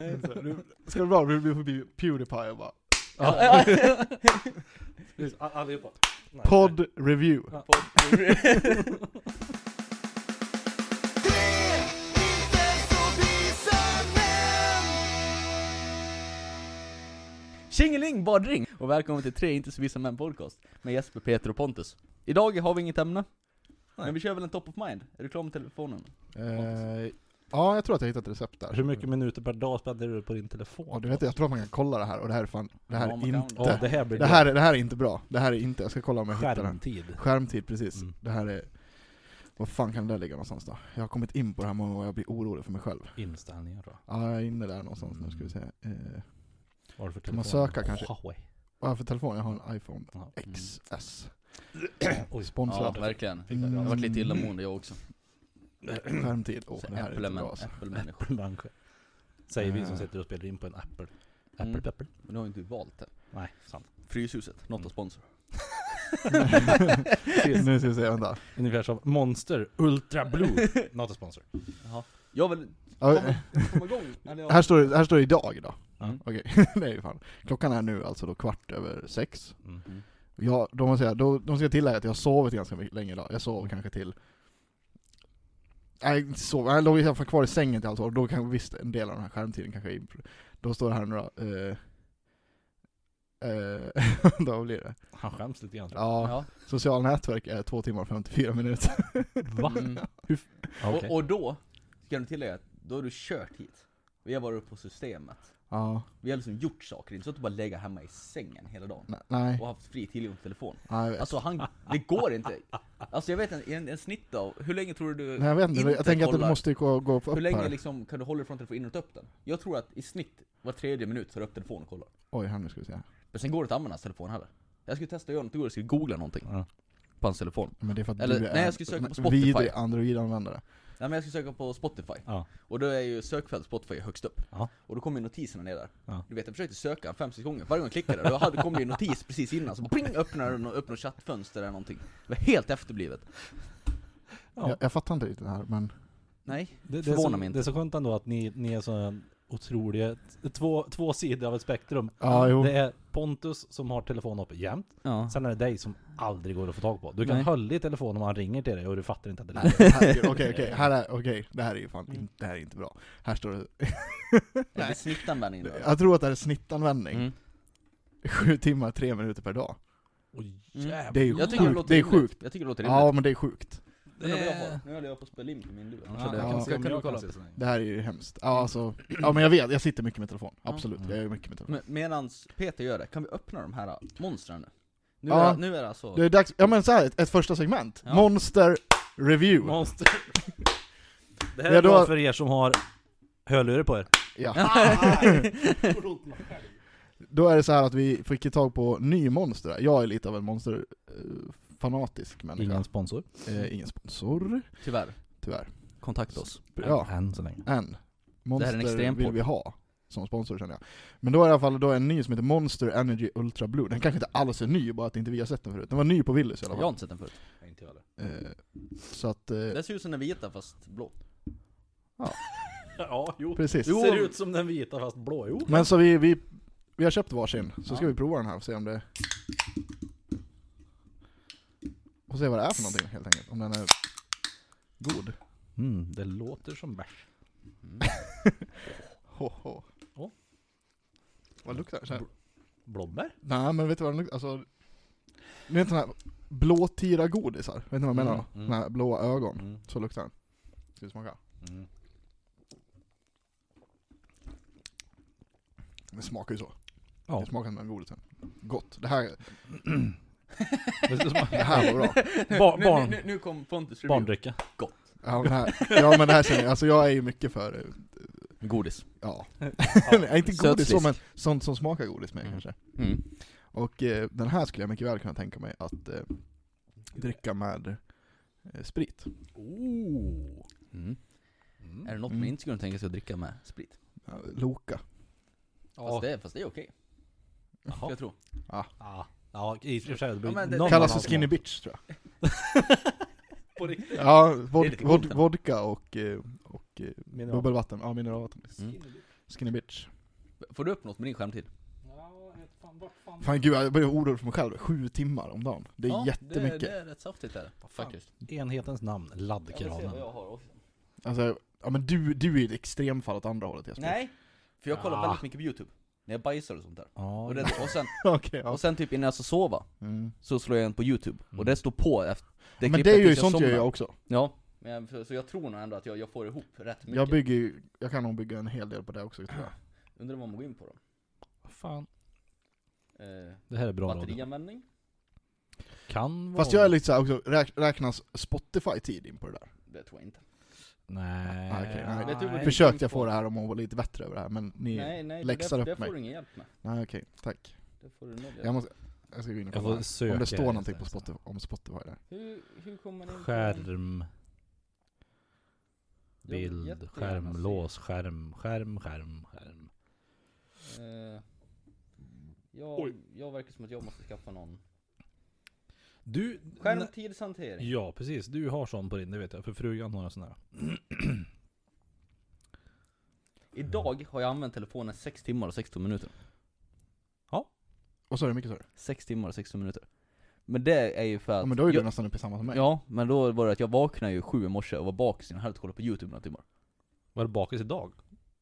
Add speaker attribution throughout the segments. Speaker 1: Nej, så här, nu Ska det vara bra? Vi får bli Pewdiepie och bara
Speaker 2: Ja.
Speaker 3: Precis, a- allihopa. Nej.
Speaker 1: Podd review
Speaker 3: Ja.
Speaker 2: Podd. Tjingeling badring! Och välkommen till tre inte så vissa män podcast med Jesper, Peter och Pontus. Idag har vi inget ämne, men vi kör väl en top of mind. Är du klar med telefonen?
Speaker 1: eh, Ja, jag tror att jag hittat ett recept där
Speaker 3: Hur mycket minuter per dag spenderar du på din telefon?
Speaker 1: Ja, du vet, jag tror att man kan kolla det här och det här är fan, det här
Speaker 2: Ja, man
Speaker 1: är
Speaker 2: kan
Speaker 1: inte,
Speaker 3: Ja, det här blir
Speaker 1: det här, är- det här är inte bra, det här är inte, jag ska kolla om jag hittar den
Speaker 3: skärmtid.
Speaker 1: Skärmtid, precis.
Speaker 3: Mm.
Speaker 1: Det här är, vad fan kan det där ligga någonstans då? Jag har kommit in på det här många gånger och jag blir orolig för mig själv
Speaker 3: Inställningar då.
Speaker 1: Ja, jag är inne där någonstans nu ska vi se eh,
Speaker 3: Vad har du för
Speaker 1: Kan man
Speaker 3: telefon?
Speaker 1: söka kanske?
Speaker 3: Huawei.
Speaker 1: Vad har jag för telefon? Jag har en iPhone
Speaker 3: Ja.
Speaker 1: XS
Speaker 3: Oj.
Speaker 2: Ja,
Speaker 1: Sponsrad
Speaker 2: verkligen.
Speaker 3: Fick jag
Speaker 2: Jag har
Speaker 3: bra.
Speaker 2: varit lite illamående jag också.
Speaker 1: skärmtid, åh
Speaker 2: Så
Speaker 1: det här är inte bra alltså.
Speaker 2: Apple-människa.
Speaker 3: Apple-människa. Säger vi som
Speaker 1: Eh.
Speaker 3: sitter och spelar in på en Apple. Apple,
Speaker 2: Mm.
Speaker 3: Apple.
Speaker 2: Men du har ju inte valt det. Mm.
Speaker 3: Nej, sant.
Speaker 2: Fryshuset, not a sponsor.
Speaker 1: Nu ska vi se, vänta
Speaker 3: Ungefär som Monster Ultra Blue. Not a sponsor.
Speaker 2: Jaha. Jag vill
Speaker 1: Ja,
Speaker 2: komma, komma igång. Eller jag-
Speaker 1: Här står, det- här står det idag då.
Speaker 3: Mm.
Speaker 1: Okej, det är ju fan. Klockan är nu alltså då kvart över sex.
Speaker 3: Mm.
Speaker 1: Jag, då måste jag, då, då ska jag tillägga att jag har sovit ganska mycket länge idag. Jag sov kanske till... Nej, inte sov, jag låg i alla fall kvar i sängen till halv tolv. Då kan visst en del av den här skärmtiden kanske är impro- Då står det här nu då. Eh, eh, då blir det.
Speaker 3: Han skäms lite grann tror
Speaker 1: Ja,
Speaker 2: Ja.
Speaker 1: sociala nätverk är två timmar och 54 minuter.
Speaker 3: jag. Va?
Speaker 2: Mm.
Speaker 3: Okej.
Speaker 2: Och, och då, ska du tillägga, att då har du kört hit. Vi har varit uppe på systemet.
Speaker 1: Ja,
Speaker 2: Vi har liksom gjort saker, inte så att du bara lägger hemma i sängen hela dagen.
Speaker 1: ne- nej,
Speaker 2: Och haft fri tillgång till telefon.
Speaker 1: nej, jag vet.
Speaker 2: Alltså han, det går inte. Alltså jag vet en, en, en snitt av, hur länge tror du
Speaker 1: nej, jag vet inte.
Speaker 2: inte
Speaker 1: Jag tänker att du
Speaker 2: kollar.
Speaker 1: måste ju gå, gå upp
Speaker 2: Hur länge
Speaker 1: här.
Speaker 2: liksom kan du hålla dig från telefonen innan du tar upp den? Jag tror att i snitt, var tredje minut tar du upp telefonen och kollar.
Speaker 1: Oj, här nu ska vi se.
Speaker 2: Men sen går det inte att använda hans telefon heller. Jag skulle testa att göra något igår, jag skulle googla någonting
Speaker 3: Ja.
Speaker 2: på hans telefon.
Speaker 1: Men det är för att
Speaker 2: Eller,
Speaker 1: du är
Speaker 2: nej, jag skulle söka på
Speaker 1: en
Speaker 2: Spotify.
Speaker 1: vidrig Android-användare.
Speaker 2: Nej men jag skulle söka på Spotify.
Speaker 3: Ja.
Speaker 2: Och då är ju sökfältet Spotify högst upp.
Speaker 3: Ja.
Speaker 2: Och då kommer ju notiserna ner där.
Speaker 3: Ja.
Speaker 2: Du vet, jag försökte söka fem, sex gånger. Varje gång jag klickade, då hade- kom det ju en notis precis innan. Så bara pling, öppnade den och upp något chattfönster eller någonting. Det var helt efterblivet.
Speaker 3: Ja.
Speaker 1: Jag, jag fattar inte riktigt det här, men
Speaker 2: Nej.
Speaker 3: Det, det, är
Speaker 2: Förvånar
Speaker 3: så,
Speaker 2: mig inte.
Speaker 3: det är så skönt ändå att ni, ni är så otroliga, t- två, två sidor av ett spektrum.
Speaker 1: Ja, jo.
Speaker 3: Det är Pontus som har telefonen uppe jämt,
Speaker 2: Ja.
Speaker 3: sen är det dig som aldrig går att få tag på. Du kan
Speaker 2: Nej.
Speaker 3: hålla i telefonen om han ringer till dig och du fattar inte att det
Speaker 1: Nej,
Speaker 3: är
Speaker 1: herregud, okej, okej, här är, okej, det här är ju fan,
Speaker 2: Mm.
Speaker 1: in, det här är inte bra. Här står det,
Speaker 2: Är det snittanvändningen då?
Speaker 1: jag tror att det här är snittanvändning,
Speaker 2: Mm.
Speaker 1: sju timmar, tre minuter per dag.
Speaker 3: Oj
Speaker 2: Mm.
Speaker 3: jävlar.
Speaker 1: Det är ju
Speaker 2: Jag tycker det
Speaker 1: sjukt,
Speaker 2: låter
Speaker 1: det är
Speaker 2: rimligt.
Speaker 1: sjukt.
Speaker 2: Jag tycker det låter rimligt.
Speaker 1: Ja men det är sjukt.
Speaker 2: Nu håller jag på- nu håller jag på att spela in på min lur.
Speaker 3: Ja,
Speaker 2: Så det-
Speaker 3: jag
Speaker 1: ja.
Speaker 3: kan se om
Speaker 2: Kan du
Speaker 3: jag
Speaker 2: kolla
Speaker 3: kan
Speaker 2: upp
Speaker 3: se
Speaker 2: det?
Speaker 3: så länge.
Speaker 1: Det här är ju hemskt. Ja alltså, ja men jag vet, jag sitter mycket med telefon.
Speaker 2: Ja.
Speaker 1: Absolut,
Speaker 3: Mm.
Speaker 1: jag är mycket med telefon.
Speaker 2: Men medans Peter gör det, kan vi öppna de här äh, monstren nu? Nu,
Speaker 1: Ja.
Speaker 2: är, nu är det alltså...
Speaker 1: Det är dags, ja men så här, ett, ett första segment.
Speaker 2: Ja.
Speaker 1: Monster Review.
Speaker 3: Monster. Det här
Speaker 1: Ja,
Speaker 3: är
Speaker 1: då-
Speaker 3: bra för er som har hörlurar på er.
Speaker 1: Ja. Då är det så här att vi fick ju tag på ny monster. här. Jag är lite av en monsterfanatisk människa.
Speaker 3: Ingen sponsor.
Speaker 1: Eh, ingen sponsor,
Speaker 2: Tyvärr,
Speaker 1: tyvärr.
Speaker 2: kontakta oss.
Speaker 1: Ja,
Speaker 3: Än så länge.
Speaker 1: en.
Speaker 2: här är en
Speaker 1: Monster
Speaker 2: extrempodd.
Speaker 1: vill vi ha som sponsor känner jag. Men då är det i alla fall då en ny som heter Monster Energy Ultra Blue. Den kanske inte alls är ny, bara att inte vi har sett den förut. Den var ny på Willys i
Speaker 2: Jag
Speaker 1: alla
Speaker 2: har
Speaker 1: fall.
Speaker 2: inte sett den förut.
Speaker 3: Inte jag heller.
Speaker 1: Eh, så att, eh,
Speaker 2: Den ser ut som den vita fast blå.
Speaker 3: Ja, jo.
Speaker 1: precis.
Speaker 2: Jo.
Speaker 3: Ser ut som den vita fast blå, jo.
Speaker 1: Men så vi, vi, vi har köpt varsin, så ska
Speaker 2: Ja.
Speaker 1: vi prova den här och se om det... Och se vad det är för någonting helt enkelt. Om den är god.
Speaker 3: Mm, det låter som bärs.
Speaker 1: Ho, ho.
Speaker 3: Ja.
Speaker 1: Vad luktar det? Så här.
Speaker 3: Blåbär?
Speaker 1: Nej men vet du vad den luktar? Alltså, ni vet sådana här blåtira godisar? Vet ni vad jag menar
Speaker 3: Mm,
Speaker 1: då?
Speaker 3: mm.
Speaker 1: Sådana här blåa ögon,
Speaker 3: Mm.
Speaker 1: så luktar den. Ska vi smaka?
Speaker 3: Mm.
Speaker 1: Den smakar ju så.
Speaker 3: Ja.
Speaker 1: Det smakar som godisen. Gott. Det här,
Speaker 3: Det ser ut som-
Speaker 1: det här var bra.
Speaker 3: Ba-
Speaker 2: nu,
Speaker 3: barn-
Speaker 2: nu, nu, nu kom Pontus review.
Speaker 3: Barndricka.
Speaker 1: Ja men, det här, ja, men det här känner jag, alltså jag är ju mycket för, eh,
Speaker 2: Godis.
Speaker 1: ja.
Speaker 3: Ja.
Speaker 1: Nej, inte godis
Speaker 2: Sötslisk.
Speaker 1: så, men sånt som smakar godis med
Speaker 2: Mm.
Speaker 1: kanske.
Speaker 2: Mm.
Speaker 1: Och eh, den här skulle jag mycket väl kunna tänka mig att eh, dricka med eh, sprit.
Speaker 3: Oh.
Speaker 2: Mm. Är det något man
Speaker 1: Mm.
Speaker 2: inte skulle kunna tänka sig att dricka med sprit?
Speaker 1: Ja, Loka.
Speaker 2: Fast, det, fast det är okej, ska jag tro.
Speaker 3: Ja, ja i och för sig. det blir
Speaker 2: Ja, men det-
Speaker 3: någon
Speaker 1: Kallas
Speaker 3: annan
Speaker 1: för skinny
Speaker 3: smak.
Speaker 1: bitch tror jag.
Speaker 2: På riktigt?
Speaker 1: Ja, vod,
Speaker 2: lite coolt
Speaker 1: vod,
Speaker 2: ändå.
Speaker 1: vodka och, eh, och eh,
Speaker 3: Mineral.
Speaker 1: bubbelvatten, ja mineralvatten.
Speaker 2: Mm.
Speaker 1: Skinny bitch.
Speaker 2: Får du upp något med din skärmtid?
Speaker 3: Ja, jag vet fan, vart fan...
Speaker 1: Fan gud, jag börjar oroa mig för mig själv. Sju timmar om dagen. Det är jättemycket.
Speaker 2: Det, det är rätt saftigt där,
Speaker 3: fan.
Speaker 2: faktiskt.
Speaker 3: Enhetens namn, laddkranen.
Speaker 2: har också.
Speaker 1: Alltså, ja men du, du är ett extremfall åt andra hållet Jesper.
Speaker 2: Nej! För jag kollar
Speaker 3: Ah.
Speaker 2: väldigt mycket på youtube, när jag bajsar och sånt där.
Speaker 3: Ja,
Speaker 2: Och, det, och, sen,
Speaker 1: Okej, ja.
Speaker 2: och sen typ innan jag ska sova,
Speaker 1: Mm.
Speaker 2: så slår jag in på youtube,
Speaker 3: Mm.
Speaker 2: och det står på efter
Speaker 1: Men
Speaker 2: klippet
Speaker 1: det är ju
Speaker 2: tills jag
Speaker 1: sånt gör
Speaker 2: somnar.
Speaker 1: jag också.
Speaker 2: Ja, men jag, så, så jag tror nog ändå att jag, jag får ihop rätt mycket
Speaker 1: Jag bygger ju, jag kan nog bygga en hel del på det också tror jag.
Speaker 2: Undrar vad man går in på då?
Speaker 3: fan.
Speaker 2: Eh,
Speaker 3: Det här är bra radio.
Speaker 2: batterianvändning?
Speaker 3: Kan vara...
Speaker 1: Fast jag är lite såhär också, räk- räknas Spotify-tid in på det där?
Speaker 2: Det tror jag inte
Speaker 3: Nej.
Speaker 1: Ah, okej, nej.
Speaker 2: Vet du vad
Speaker 1: Jag
Speaker 2: Nej,
Speaker 1: försökte
Speaker 2: tänk
Speaker 1: jag
Speaker 2: på
Speaker 1: få det här om att vara lite bättre över det här, men ni... Nej,
Speaker 2: Nej nej,
Speaker 1: läxar
Speaker 2: det,
Speaker 1: upp
Speaker 2: det får
Speaker 1: mig.
Speaker 2: du ingen hjälp med
Speaker 1: okej, tack.
Speaker 2: Det får du noll hjälp
Speaker 1: Jag
Speaker 2: med
Speaker 1: måste, jag ska gå in och
Speaker 3: Jag
Speaker 1: kolla
Speaker 3: får
Speaker 1: här.
Speaker 3: söka.
Speaker 1: om det står någonting på
Speaker 3: istället.
Speaker 1: Spotify, om Spotify där.
Speaker 2: hur, hur kommer man in på en-
Speaker 3: Skärm.
Speaker 2: Jag vill
Speaker 3: Bild,
Speaker 2: jättegärna
Speaker 3: skärm,
Speaker 2: se.
Speaker 3: lås, skärm, skärm, skärm, skärm.
Speaker 2: Eh, jag, jag verkar som att jag måste skaffa någon
Speaker 3: Du...
Speaker 2: Skärmtidshantering
Speaker 3: Ja, precis. Du har sån på din, det vet jag. För frugan har en sån här.
Speaker 2: Idag har jag använt telefonen 6 timmar och 16 minuter
Speaker 1: Och så är det mycket så.
Speaker 2: 6 timmar och 16 minuter Men det är ju för att
Speaker 1: Ja men då är du
Speaker 2: jag,
Speaker 1: nästan uppe i samma som mig.
Speaker 2: Ja, men då var det att jag vaknade ju sju i morse och var bakis innan jag hade kollat på youtube några timmar
Speaker 3: Var du bakis idag?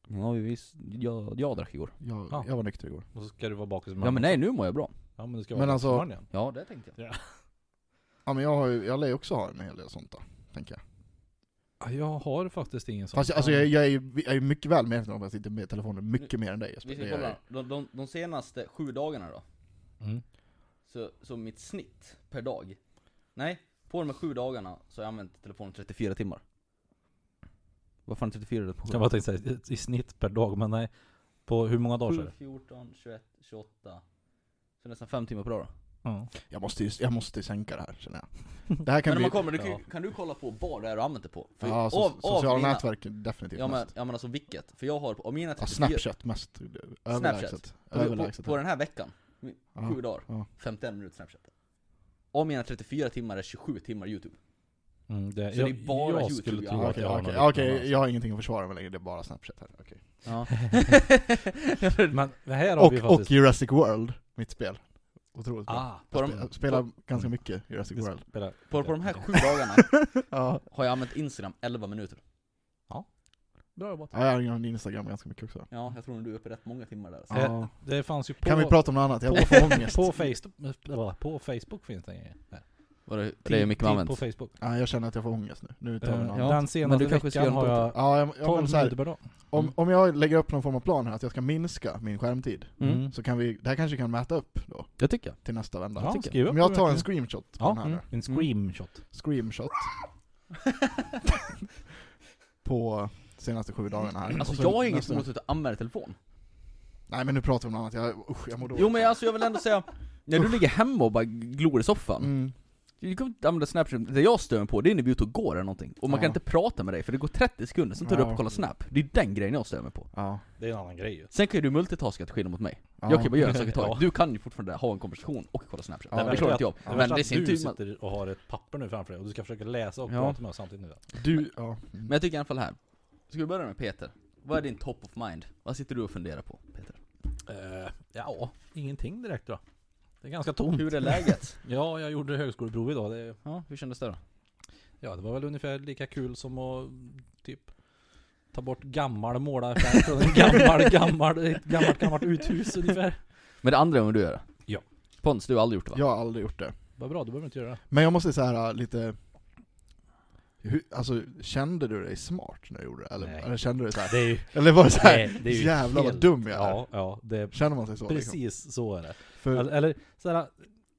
Speaker 2: Ja visst, jag, jag drack igår
Speaker 1: Jag,
Speaker 3: Ja.
Speaker 1: jag var nykter igår.
Speaker 3: Och så ska du vara bakis imorgon.
Speaker 2: Ja men nej, nu mår jag bra
Speaker 3: Ja men du ska
Speaker 1: Men
Speaker 3: vara bakis
Speaker 1: alltså-
Speaker 3: imorgon igen.
Speaker 2: Ja det tänkte jag
Speaker 1: Ja men jag har ju, jag lär ju också ha en hel del sånt då, tänker jag.
Speaker 3: Ja, Jag har faktiskt ingen sån.
Speaker 1: Fast jag, alltså jag, jag är ju jag är ju mycket väl medveten om att jag sitter med telefonen mycket mer än dig Jesper.
Speaker 2: Vi ska
Speaker 1: Det är jag
Speaker 2: kolla,
Speaker 1: ju.
Speaker 2: de, de, de senaste sju dagarna då,
Speaker 3: Mm.
Speaker 2: så, så mitt snitt per dag Nej, på de här sju dagarna så har jag använt telefonen 34 timmar Vad fan är 34 det på sju?
Speaker 3: Jag bara tänkte säga i snitt per dag, men nej. På hur många dagar så är
Speaker 2: 7,
Speaker 3: det?
Speaker 2: 14, 21, 28 Så nästan 5 timmar per dag då.
Speaker 3: Ja.
Speaker 1: Jag måste ju, jag måste sänka det här känner jag. Det här kan
Speaker 2: Men om
Speaker 1: bli,
Speaker 2: man kommer, du kan,
Speaker 3: ja.
Speaker 2: ju- kan du kolla på vad det är du använt det på? För
Speaker 1: ja, so, sociala
Speaker 2: mina-
Speaker 1: nätverk definitivt
Speaker 2: Ja men,
Speaker 1: mest.
Speaker 2: ja men alltså vilket? För jag har, av mina
Speaker 1: Ja,
Speaker 2: 34
Speaker 1: Snapchat mest, överlägset.
Speaker 2: på,
Speaker 1: Överlägset.
Speaker 2: på, på den här veckan,
Speaker 1: Ja.
Speaker 2: sju dagar,
Speaker 1: ja.
Speaker 2: 51 minuter Snapchat Av mina 34 timmar är 27 timmar YouTube
Speaker 3: Mm, det,
Speaker 2: Så
Speaker 3: jag,
Speaker 2: det är bara
Speaker 3: jag
Speaker 2: YouTube,
Speaker 3: skulle tro
Speaker 2: ja.
Speaker 1: Ja,
Speaker 3: att
Speaker 1: Okej,
Speaker 3: jag har
Speaker 1: okej,
Speaker 3: något
Speaker 1: okej,
Speaker 3: liknande.
Speaker 1: jag har ingenting att försvara med längre, det är bara Snapchat här. Okej.
Speaker 2: Ja
Speaker 3: Men det här har vi
Speaker 1: Och, och
Speaker 3: faktiskt...
Speaker 1: Jurassic World, mitt spel. Otroligt bra.
Speaker 3: ah,
Speaker 2: på,
Speaker 1: Jag
Speaker 2: de,
Speaker 1: spelar, spelar ganska mycket Jurassic World.
Speaker 3: spelar,
Speaker 2: på, på de här sju dagarna
Speaker 1: Ja,
Speaker 2: har jag använt Instagram 11 minuter
Speaker 3: Bra jobbat.
Speaker 1: jag har använt Instagram ganska mycket också.
Speaker 2: Ja, jag tror nog du är uppe rätt många timmar där alltså.
Speaker 3: Ja.
Speaker 1: Ja.
Speaker 3: Det fanns ju Eh, på...
Speaker 1: Kan vi prata om något annat? Jag bara får ångest.
Speaker 3: På Facebook, på Facebook finns det en grej. Nej.
Speaker 2: Var det, det är mycket
Speaker 3: Tid- tid
Speaker 2: man använt
Speaker 3: På Facebook.
Speaker 1: Ja, jag känner att jag får ångest nu. Nu tar vi något
Speaker 3: Eh,
Speaker 1: annat.
Speaker 3: Den
Speaker 2: Men du
Speaker 3: senaste
Speaker 2: kanske ska
Speaker 3: veckan
Speaker 2: göra
Speaker 3: har
Speaker 2: något
Speaker 3: jag
Speaker 1: Ja, jag, jag,
Speaker 3: 12
Speaker 1: men så här,
Speaker 3: minuter per dag.
Speaker 1: om, om jag lägger upp någon form av plan här, att jag ska minska min skärmtid,
Speaker 2: mm.
Speaker 1: så kan vi, det här kanske kan mäta upp då,
Speaker 2: Jag tycker jag
Speaker 1: till nästa vända.
Speaker 3: Ja,
Speaker 2: tycker jag.
Speaker 3: skriv upp
Speaker 1: Om
Speaker 3: det
Speaker 1: jag tar en
Speaker 3: verkligen.
Speaker 1: screenshot på den
Speaker 3: Ja,
Speaker 1: här
Speaker 3: mm.
Speaker 1: nu.
Speaker 3: en screenshot.
Speaker 1: Screenshot. på senaste sju dagarna här.
Speaker 2: Alltså
Speaker 1: Och så
Speaker 2: jag har inget
Speaker 1: nästa-
Speaker 2: emot att använda telefon
Speaker 1: Nej men nu pratar vi om något annat, jag, usch, jag mår dåligt.
Speaker 2: Jo men alltså jag vill ändå säga, när du ligger hemma och bara glor i soffan
Speaker 1: Mm.
Speaker 2: Du kan inte använda Snapchat, det jag stör mig på det är när vi är ute och går eller någonting Och man
Speaker 1: Ja.
Speaker 2: kan inte prata med dig för det går 30 sekunder, sen tar du
Speaker 1: Ja.
Speaker 2: upp och kollar Snap Det är den grejen jag stör mig på
Speaker 1: Ja.
Speaker 3: Det är en annan grej ju.
Speaker 2: Sen kan ju du multitaska till skillnad mot mig
Speaker 1: Ja.
Speaker 2: Jag kan bara göra en sak i taget,
Speaker 3: Ja.
Speaker 2: du kan ju fortfarande ha en konversation och kolla Snapchat
Speaker 1: Ja,
Speaker 2: Det,
Speaker 1: det
Speaker 2: klarar
Speaker 3: är
Speaker 2: inte jag,
Speaker 1: Ja,
Speaker 3: Det
Speaker 2: men
Speaker 3: värsta är
Speaker 2: det är
Speaker 3: att
Speaker 2: sin typ
Speaker 3: du
Speaker 2: tur man...
Speaker 3: sitter och har ett papper nu framför dig och du ska försöka läsa och
Speaker 2: Ja.
Speaker 3: prata med oss samtidigt.
Speaker 1: Du, ja. Mm.
Speaker 2: Men jag tycker i alla fall här, ska vi börja med Peter? Vad är din top of mind? Vad sitter du och funderar på Peter?
Speaker 3: Uh, ja, ingenting direkt då. Det är ganska tomt.
Speaker 2: Hur är läget?
Speaker 3: Ja, jag gjorde högskoleprov idag. Det,
Speaker 2: ja, hur kändes det då?
Speaker 3: ja, det var väl ungefär lika kul som att typ ta bort gammal målarfärg från en gammal, gammal, ett gammalt, gammalt uthus ungefär.
Speaker 2: Men det andra gången du gör det?
Speaker 3: Ja.
Speaker 2: Pontus, du har aldrig gjort det va?
Speaker 1: Jag har aldrig gjort det.
Speaker 3: Vad bra, du behöver inte göra det.
Speaker 1: Men jag måste säga här lite, hur, alltså kände du dig smart när du gjorde det? Eller,
Speaker 3: Nej.
Speaker 1: eller kände du dig så här?
Speaker 3: Det är ju,
Speaker 1: Eller var det så här,
Speaker 3: det, det är ju
Speaker 1: jävlar vad
Speaker 3: helt-
Speaker 1: dum jag är?
Speaker 3: Ja, ja, det är
Speaker 1: Känner man sig så? Liksom?
Speaker 3: precis så är det.
Speaker 1: För,
Speaker 2: Alltså-
Speaker 3: Eller, eller så här,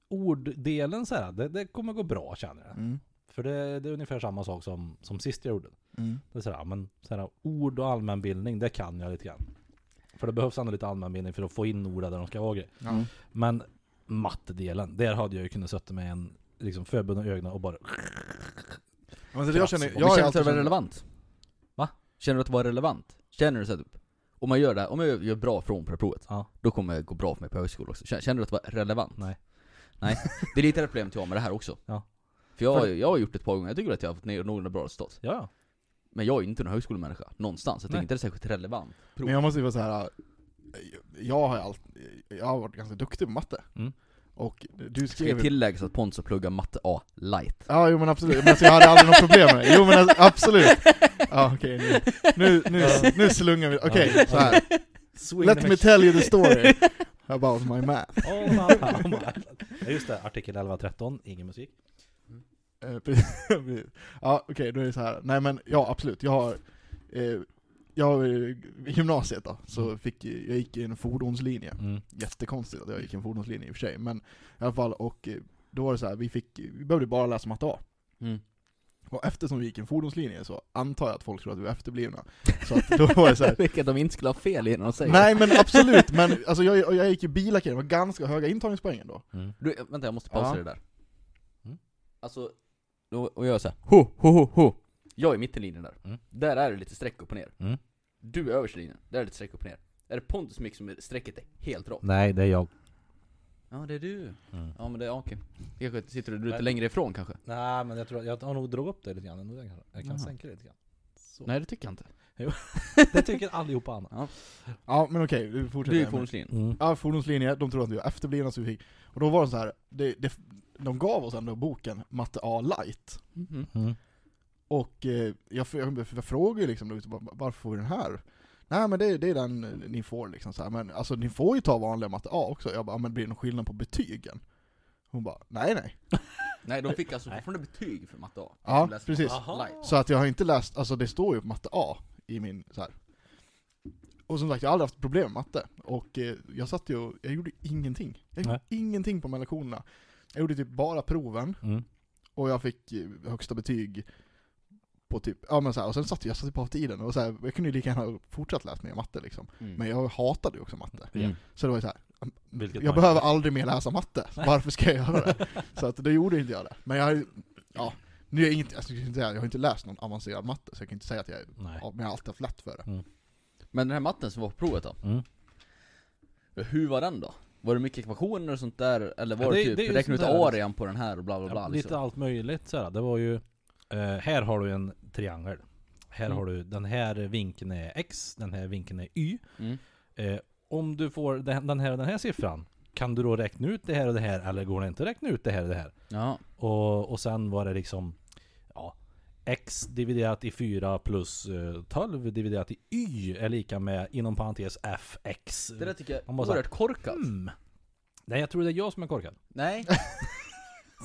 Speaker 3: orddelen så här, det, det kommer gå bra känner jag.
Speaker 1: mm,
Speaker 3: För det, det är ungefär samma sak som, som sist jag gjorde.
Speaker 1: mm.
Speaker 3: Det är så här, men så här, ord och allmänbildning, det kan jag lite grann. För det behövs ändå lite allmänbildning för att få in orden där de ska vara och grejer.
Speaker 1: Ja.
Speaker 3: Men mattedelen, där hade jag ju kunnat sätta med en liksom förbundna ögonen och bara
Speaker 1: Men så det Alltså, jag känner,
Speaker 2: Men
Speaker 1: jag har
Speaker 2: känner du
Speaker 1: alltid
Speaker 2: att det
Speaker 1: känt-
Speaker 2: var relevant? Va? Känner du att det var relevant? Känner du så här typ? Om man gör det, här- om jag gör bra från på det här provet,
Speaker 3: Ja.
Speaker 2: då kommer det gå bra för mig på högskolan också. Känner, känner du att det var relevant?
Speaker 3: Nej.
Speaker 2: Nej, det är lite det problemet jag har med det här också.
Speaker 3: Ja.
Speaker 2: För jag, har
Speaker 3: För-
Speaker 2: ju- jag har gjort det ett par gånger, jag tycker att jag har fått ner några bra resultat.
Speaker 3: Ja, ja.
Speaker 2: Men jag är ju inte någon högskolemänniska, någonstans. Jag tycker
Speaker 3: Nej.
Speaker 2: inte det är särskilt relevant.
Speaker 1: Men jag måste ju vara så här. äh, jag har, ju allt, jag har varit ganska duktig på matte.
Speaker 3: Mm.
Speaker 1: Och du
Speaker 2: Ska ju
Speaker 1: skrev ju...
Speaker 2: tilläggas att Pontus pluggar matte A light.
Speaker 1: Ja, jo men absolut. Men alltså, jag hade aldrig något problem med det. Jo men alltså, absolut. Ja, okej nu, nu, nu,
Speaker 3: Ja.
Speaker 1: nu slungar vi. Okej,
Speaker 3: Ja.
Speaker 1: så här.
Speaker 3: Swing
Speaker 1: Let me tell you the story about my math.
Speaker 3: Oh, my- oh my. Ja, Just det, artikel 11.13, ingen musik.
Speaker 1: Eh, precis. ja, okej, då är det så här. Nej men ja, absolut. Jag har... Eh, jag har eh, i gymnasiet då,
Speaker 3: Mm.
Speaker 1: så fick ju- jag gick i en fordonslinje. jättekonstigt att jag gick en fordonslinje i och för sig, men i alla fall, och eh, då var det så här, vi fick, vi behövde bara läsa matte A.
Speaker 2: Mm.
Speaker 1: Och eftersom vi gick en fordonslinje så antar jag att folk tror att vi var efterblivna. Så att då var det så här.
Speaker 2: Vilket de inte skulle ha fel i när de säger
Speaker 1: Nej men absolut, men alltså jag, och jag gick ju bilackare, det var ganska höga intagningspoäng ändå.
Speaker 2: Du, eh, vänta jag måste pausa
Speaker 1: Ja.
Speaker 2: det där.
Speaker 3: Mm.
Speaker 2: Alltså, då, och jag gör såhär, ho, ho, ho, ho. Jag är mitt i linjen där.
Speaker 3: Mm.
Speaker 2: Där är det lite streck upp och ner.
Speaker 3: Mm.
Speaker 2: Du är överst i linjen, där är det lite streck upp och ner. Är det Pontus Mix som är strecket är helt rakt?
Speaker 3: Nej, det är jag.
Speaker 2: Ja det är du.
Speaker 3: Mm.
Speaker 2: Ja men det är ja, okej. Kanske sitter du lite
Speaker 3: Nej.
Speaker 2: längre ifrån kanske?
Speaker 3: Nej, men jag tror jag har nog dragit upp det lite grann. ändå. Jag kan, jag kan
Speaker 2: Jaha.
Speaker 3: sänka det lite grann. Så.
Speaker 2: Nej det tycker jag inte.
Speaker 3: Det tycker allihopa annat.
Speaker 1: Ja men okej, vi fortsätter.
Speaker 2: Du är i
Speaker 1: Men-
Speaker 2: fordonslinjen.
Speaker 3: Mm,
Speaker 1: Ja, fordonslinje, de trodde att vi var efterblivna så vi fick, och då var det så här, det, det, de gav oss ändå boken Matte A light.
Speaker 2: Mhm.
Speaker 3: mm,
Speaker 1: Och eh, jag, jag, jag, jag frågade ju liksom, då, bara, varför får vi den här? Nej men det, det är den ni får liksom så här. men alltså ni får ju ta vanliga matte A också. Jag bara, "Ja, men blir det någon skillnad på betygen? Hon bara, nej nej.
Speaker 2: Nej de fick alltså fortfarande betyg för matte A.
Speaker 1: Ja,
Speaker 2: De läste
Speaker 1: precis.
Speaker 2: matte light.
Speaker 1: Så att jag har inte läst, alltså det står ju på matte A i min så här. Och som sagt, jag har aldrig haft problem med matte. Och eh, jag satt ju och, jag gjorde ingenting. Jag gjorde ingenting på de här lektionerna. Jag gjorde typ bara proven.
Speaker 3: mm.
Speaker 1: Och jag fick eh, högsta betyg på typ, ja men så här, och sen satt jag, jag satt typ av tiden och så här, jag kunde ju lika gärna ha fortsatt läsa mer matte liksom.
Speaker 2: Mm.
Speaker 1: Men jag hatade ju också matte.
Speaker 2: Mm.
Speaker 1: Så det var ju så här,
Speaker 3: Vilket
Speaker 1: jag
Speaker 3: man-
Speaker 1: behöver aldrig mer läsa matte, varför ska jag göra det? Så att det gjorde inte jag det. Men jag, har ju- ja, nu är jag inte, jag, skulle inte säga, jag har inte läst någon avancerad matte så jag kan inte säga att jag,
Speaker 3: Nej.
Speaker 1: ja, men jag har alltid haft lätt för det.
Speaker 2: Men den här matten som var på provet då?
Speaker 3: Mm.
Speaker 2: Hur var den då? Var det mycket ekvationer och sånt där? Eller var
Speaker 3: Ja,
Speaker 2: det,
Speaker 3: det-
Speaker 2: typ,
Speaker 3: det är ju
Speaker 2: räkna ut
Speaker 3: sånt där.
Speaker 2: arean på den här och bla bla bla?
Speaker 3: Ja,
Speaker 2: liksom.
Speaker 3: lite allt möjligt sådär. Det var ju, eh, här har du en triangel. Här
Speaker 2: Mm.
Speaker 3: har du, den här vinkeln är X, den här vinkeln är Y.
Speaker 2: Mm.
Speaker 3: Eh, om du får den, den här och den här siffran, kan du då räkna ut det här och det här eller går det inte att räkna ut det här och det här?
Speaker 2: Ja.
Speaker 3: Och, och sen var det liksom ja, X dividerat i 4 plus eh, 12 dividerat i Y är lika med inom parentes FX.
Speaker 2: Det där tycker jag är
Speaker 3: Man bara så här,
Speaker 2: oerhört korkat.
Speaker 3: Mm. Nej jag tror det är jag som är korkad.
Speaker 2: Nej,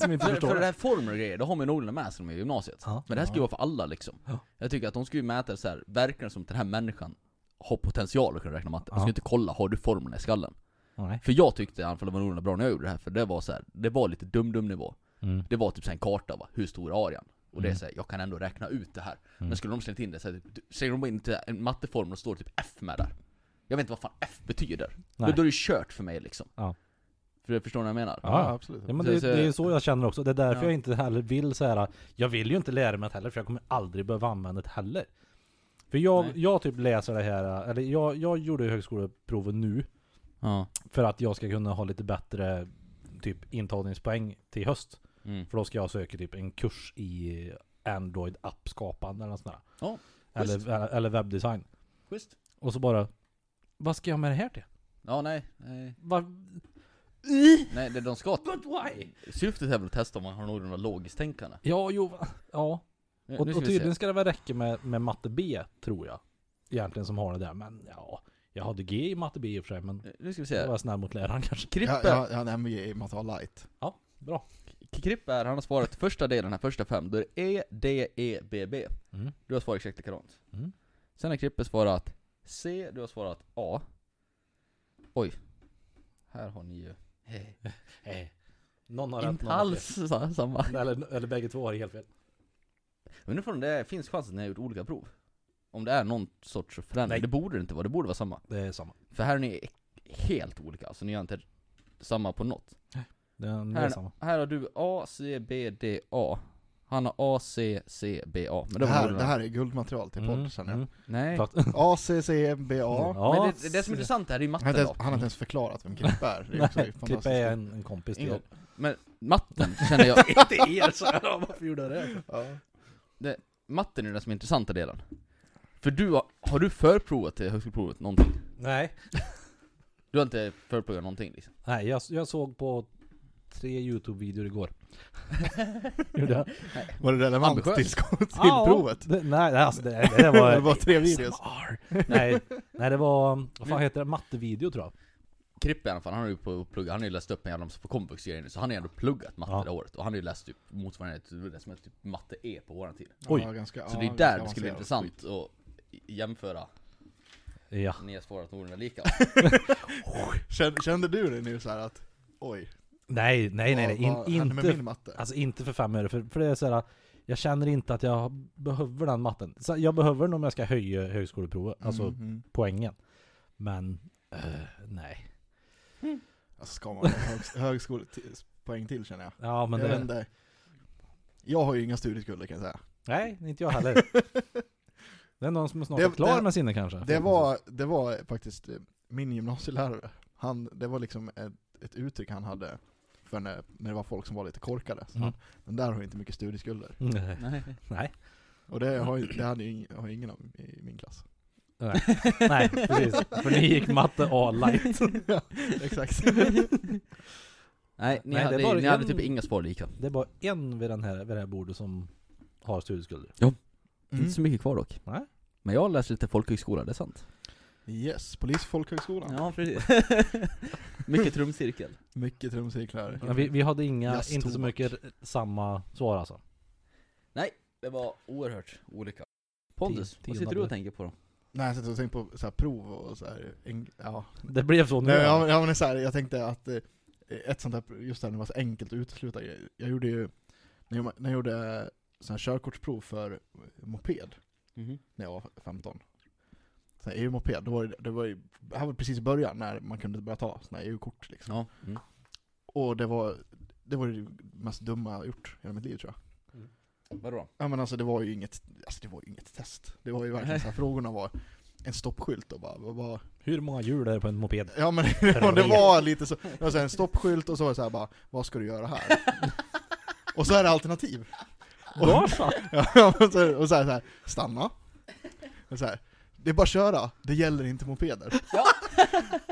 Speaker 3: Som inte
Speaker 2: för,
Speaker 3: förstår
Speaker 2: för det
Speaker 3: det.
Speaker 2: här formler och grejer, det har man ju någorlunda med sig när man är i gymnasiet.
Speaker 3: Ja.
Speaker 2: Men det här ska ju vara för alla liksom.
Speaker 3: Ja.
Speaker 2: Jag tycker att de ska ju mäta det så här. verkar det som att den här människan har potential att kunna räkna matte? Man ska
Speaker 3: Ja.
Speaker 2: ju inte kolla, har du formlerna i skallen?
Speaker 3: Nej.
Speaker 2: För jag tyckte i alla fall det var någorlunda bra när jag gjorde det här, för det var så här, det var lite dum-dum nivå.
Speaker 3: Mm.
Speaker 2: Det var typ så här en karta va, hur stor är arean? Och det är
Speaker 3: Mm.
Speaker 2: såhär, jag kan ändå räkna ut det här. Men
Speaker 3: Mm.
Speaker 2: skulle de slängt in det så här, typ, du- säger de bara inte en matteformel och står typ F med där. Jag vet inte vad fan F betyder. Då,
Speaker 3: Nej.
Speaker 2: då är det kört för mig liksom.
Speaker 3: Ja.
Speaker 2: För jag förstår vad jag menar?
Speaker 3: Ja.
Speaker 1: absolut.
Speaker 3: Ja, men det,
Speaker 2: Så-
Speaker 3: det är ju så jag känner också. Det är därför
Speaker 2: Ja.
Speaker 3: jag inte heller vill så här. Jag vill ju inte lära mig det heller för jag kommer aldrig behöva använda det heller. För jag,
Speaker 2: Nej.
Speaker 3: jag typ läser det här, eller jag, jag gjorde ju högskoleprovet nu
Speaker 2: Ja.
Speaker 3: för att jag ska kunna ha lite bättre typ intagningspoäng till höst.
Speaker 2: Mm.
Speaker 3: För då ska jag söka typ en kurs i Android appskapande eller något sånt där.
Speaker 2: Ja, schysst.
Speaker 3: eller, eller webbdesign.
Speaker 2: Schysst.
Speaker 3: Och så bara, vad ska jag med det här till?
Speaker 2: Ja, nej. Nej,
Speaker 3: Vad?
Speaker 2: nej det, de ska...
Speaker 3: But why?
Speaker 2: Syftet är väl att testa om man har någorlunda logiskt tänkande.
Speaker 3: Ja, jo, va- ja.
Speaker 2: Nu,
Speaker 3: Och,
Speaker 2: nu
Speaker 3: och
Speaker 2: ska vi se.
Speaker 3: tydligen ska det väl räcka med, med matte B, tror jag. Egentligen som har det där, men ja. Jag hade G i matte B i och för sig, men
Speaker 2: Nu ska vi
Speaker 3: jag
Speaker 2: se.
Speaker 3: var snäll mot läraren kanske.
Speaker 2: Krippe,
Speaker 1: Ja, ja, ja, nej, men ge- matte A light.
Speaker 3: Bra.
Speaker 2: Krippe är, han har svarat första delen här, första fem. Då är det E, D, E, B, B.
Speaker 3: Mm.
Speaker 2: Du har svarat exakt likadant.
Speaker 3: Mm.
Speaker 2: Sen har Krippe svarat C, du har svarat A. Oj. Här har ni ju... Hej.
Speaker 3: Eh, Någon har rätt,
Speaker 2: Inte
Speaker 3: någon har
Speaker 2: alls sa- samma.
Speaker 3: fel. Eller, eller bägge två har helt fel.
Speaker 2: Men nu får det finns chans att ni har gjort olika prov. Om det är någon sorts förändring.
Speaker 3: Nej.
Speaker 2: Det borde det inte vara, det borde vara samma.
Speaker 3: Det är samma.
Speaker 2: För här är ni helt olika, alltså ni har inte samma på något.
Speaker 3: Det är, det
Speaker 2: Här-
Speaker 3: är samma.
Speaker 2: Här har du A, C, B, D, A. Han har A, C, C, B, A. Men
Speaker 1: Det
Speaker 2: var
Speaker 1: här,
Speaker 2: någorlunda-
Speaker 1: det här är guldmaterial till
Speaker 3: Mm,
Speaker 1: podd känner jag.
Speaker 3: mm.
Speaker 2: Nej.
Speaker 3: Fast-
Speaker 1: A, C, C, B, A.
Speaker 3: Ja,
Speaker 2: Men det, det som är intressant här är ju
Speaker 1: Han har
Speaker 2: matten
Speaker 1: inte
Speaker 2: då.
Speaker 1: ens, han har inte ens förklarat vem Kripp är. Det är också
Speaker 3: Nej,
Speaker 1: fantastiskt.
Speaker 3: Klippe är en, en kompis till
Speaker 2: Ingen.
Speaker 3: er.
Speaker 2: Men matten känner jag...
Speaker 3: Inte er sa jag, varför gjorde jag det?
Speaker 1: Ja.
Speaker 2: matten är den som är intressanta delen. För du har, har du förprovat till högskoleprovet någonting?
Speaker 3: Nej.
Speaker 2: Du har inte förprovat någonting liksom?
Speaker 3: Nej, jag, jag såg på tre YouTube-videor igår. Gjorde jag?
Speaker 1: Var det relevant
Speaker 2: Ambitiöst.
Speaker 1: till, sko- till
Speaker 3: Ja,
Speaker 1: provet?
Speaker 3: Det, nej, alltså det, det där
Speaker 1: Det
Speaker 3: var...
Speaker 1: var tre videos.
Speaker 3: ASMR. Nej, nej, det var... Vad fan heter det? Mattevideo tror jag.
Speaker 2: Krippe i alla fall, han har ju på plugga, han har ju läst upp en jävla massa på komvux grejer nu, så han har ju ändå pluggat matte
Speaker 3: Ja.
Speaker 2: det året. Och han har ju läst typ motsvarande till det som heter typ matte E på våran tid.
Speaker 3: Oj.
Speaker 1: Ja, ganska,
Speaker 2: Så
Speaker 1: ja,
Speaker 2: det är
Speaker 1: ganska
Speaker 2: där det
Speaker 1: avancerad
Speaker 2: skulle vara intressant att jämföra
Speaker 3: Ja.
Speaker 2: nya svåra att Norden är lika.
Speaker 1: skit. Kände, kände du dig nu så här att, oj,
Speaker 3: Nej, nej, nej, nej.
Speaker 1: vad, vad
Speaker 3: In,
Speaker 1: hände med
Speaker 3: inte,
Speaker 1: min matte?
Speaker 3: alltså inte för fem öre. För, för det är så här, jag känner inte att jag behöver den matten. Så jag behöver den om jag ska höja högskoleprovet, alltså
Speaker 1: Mm, mm.
Speaker 3: poängen. Men, eh, nej.
Speaker 1: Alltså ska man ha högs- högskolepoäng till känner jag.
Speaker 3: Ja, men
Speaker 1: jag,
Speaker 3: det,
Speaker 1: vet inte. jag har ju inga studieskulder kan jag säga.
Speaker 3: Nej, inte jag heller. Det är någon som snart
Speaker 1: Det-
Speaker 3: är klar
Speaker 1: det-
Speaker 3: med sina kanske.
Speaker 1: Det var, det var faktiskt eh, min gymnasielärare. Han, det var liksom ett, ett uttryck han hade för när, när det var folk som var lite korkade. Så
Speaker 3: Mm.
Speaker 1: han, den där har ju inte mycket studieskulder.
Speaker 3: Nej.
Speaker 2: Nej.
Speaker 3: Nej.
Speaker 1: Och det, har, ju- det hade ju ing, har ingen av i min klass.
Speaker 3: Nej, precis. För ni gick matte A-light.
Speaker 1: ja, exakt.
Speaker 2: Nej, ni,
Speaker 3: Nej, det
Speaker 2: hade,
Speaker 3: är bara
Speaker 2: ni hade
Speaker 3: en-
Speaker 2: typ inga svar lika.
Speaker 3: Det är bara en vid, den här, vid det här bordet som har studieskulder.
Speaker 1: Mm.
Speaker 2: Inte så mycket kvar dock.
Speaker 3: Nej.
Speaker 2: Men jag har läst lite folkhögskola, det är sant.
Speaker 1: Yes, polis och folkhögskolan.
Speaker 2: Ja, precis. mycket trumcirkel.
Speaker 1: Mycket trumcirklar.
Speaker 3: Men vi, vi hade inga,
Speaker 1: Yes,
Speaker 3: inte så
Speaker 1: tobak.
Speaker 3: mycket samma svar alltså.
Speaker 2: Det var oerhört olika. Pontus,
Speaker 3: Tio-
Speaker 2: vad
Speaker 3: tionde.
Speaker 2: sitter du och tänker på då?
Speaker 1: Nej, jag satt och tänkte på så här prov och så här, en, ja.
Speaker 3: Det blev så nu.
Speaker 1: Nej, ja, men- ja, men så här, jag tänkte att eh, ett sånt här, just det här när det var så enkelt att utesluta grejer. Jag gjorde ju, när jag, när jag gjorde sån här körkortsprov för moped
Speaker 2: Mm-hmm.
Speaker 1: när jag var 15. Så här, EU-moped, då var det, det var ju, det här var precis i början när man kunde börja ta såna här EU-kort liksom.
Speaker 2: Ja. Mm.
Speaker 1: Och det var, det var det mest dumma jag har gjort i hela mitt liv tror jag.
Speaker 2: Vadå?
Speaker 1: Ja men alltså det var ju inget, alltså det var ju inget test. Det var ju verkligen så här, frågorna var en stoppskylt och bara, vad- vad-
Speaker 3: Hur många hjul är det på en moped?
Speaker 1: Ja men det var, det var lite så, det var så här en stoppskylt och så var det så här bara, vad ska du göra här? Och så är det alternativ. Och,
Speaker 3: Varsa?
Speaker 1: ja, och så är det- och så här, så här stanna. Och så här, det är bara att köra, det gäller inte mopeder.
Speaker 2: Ja.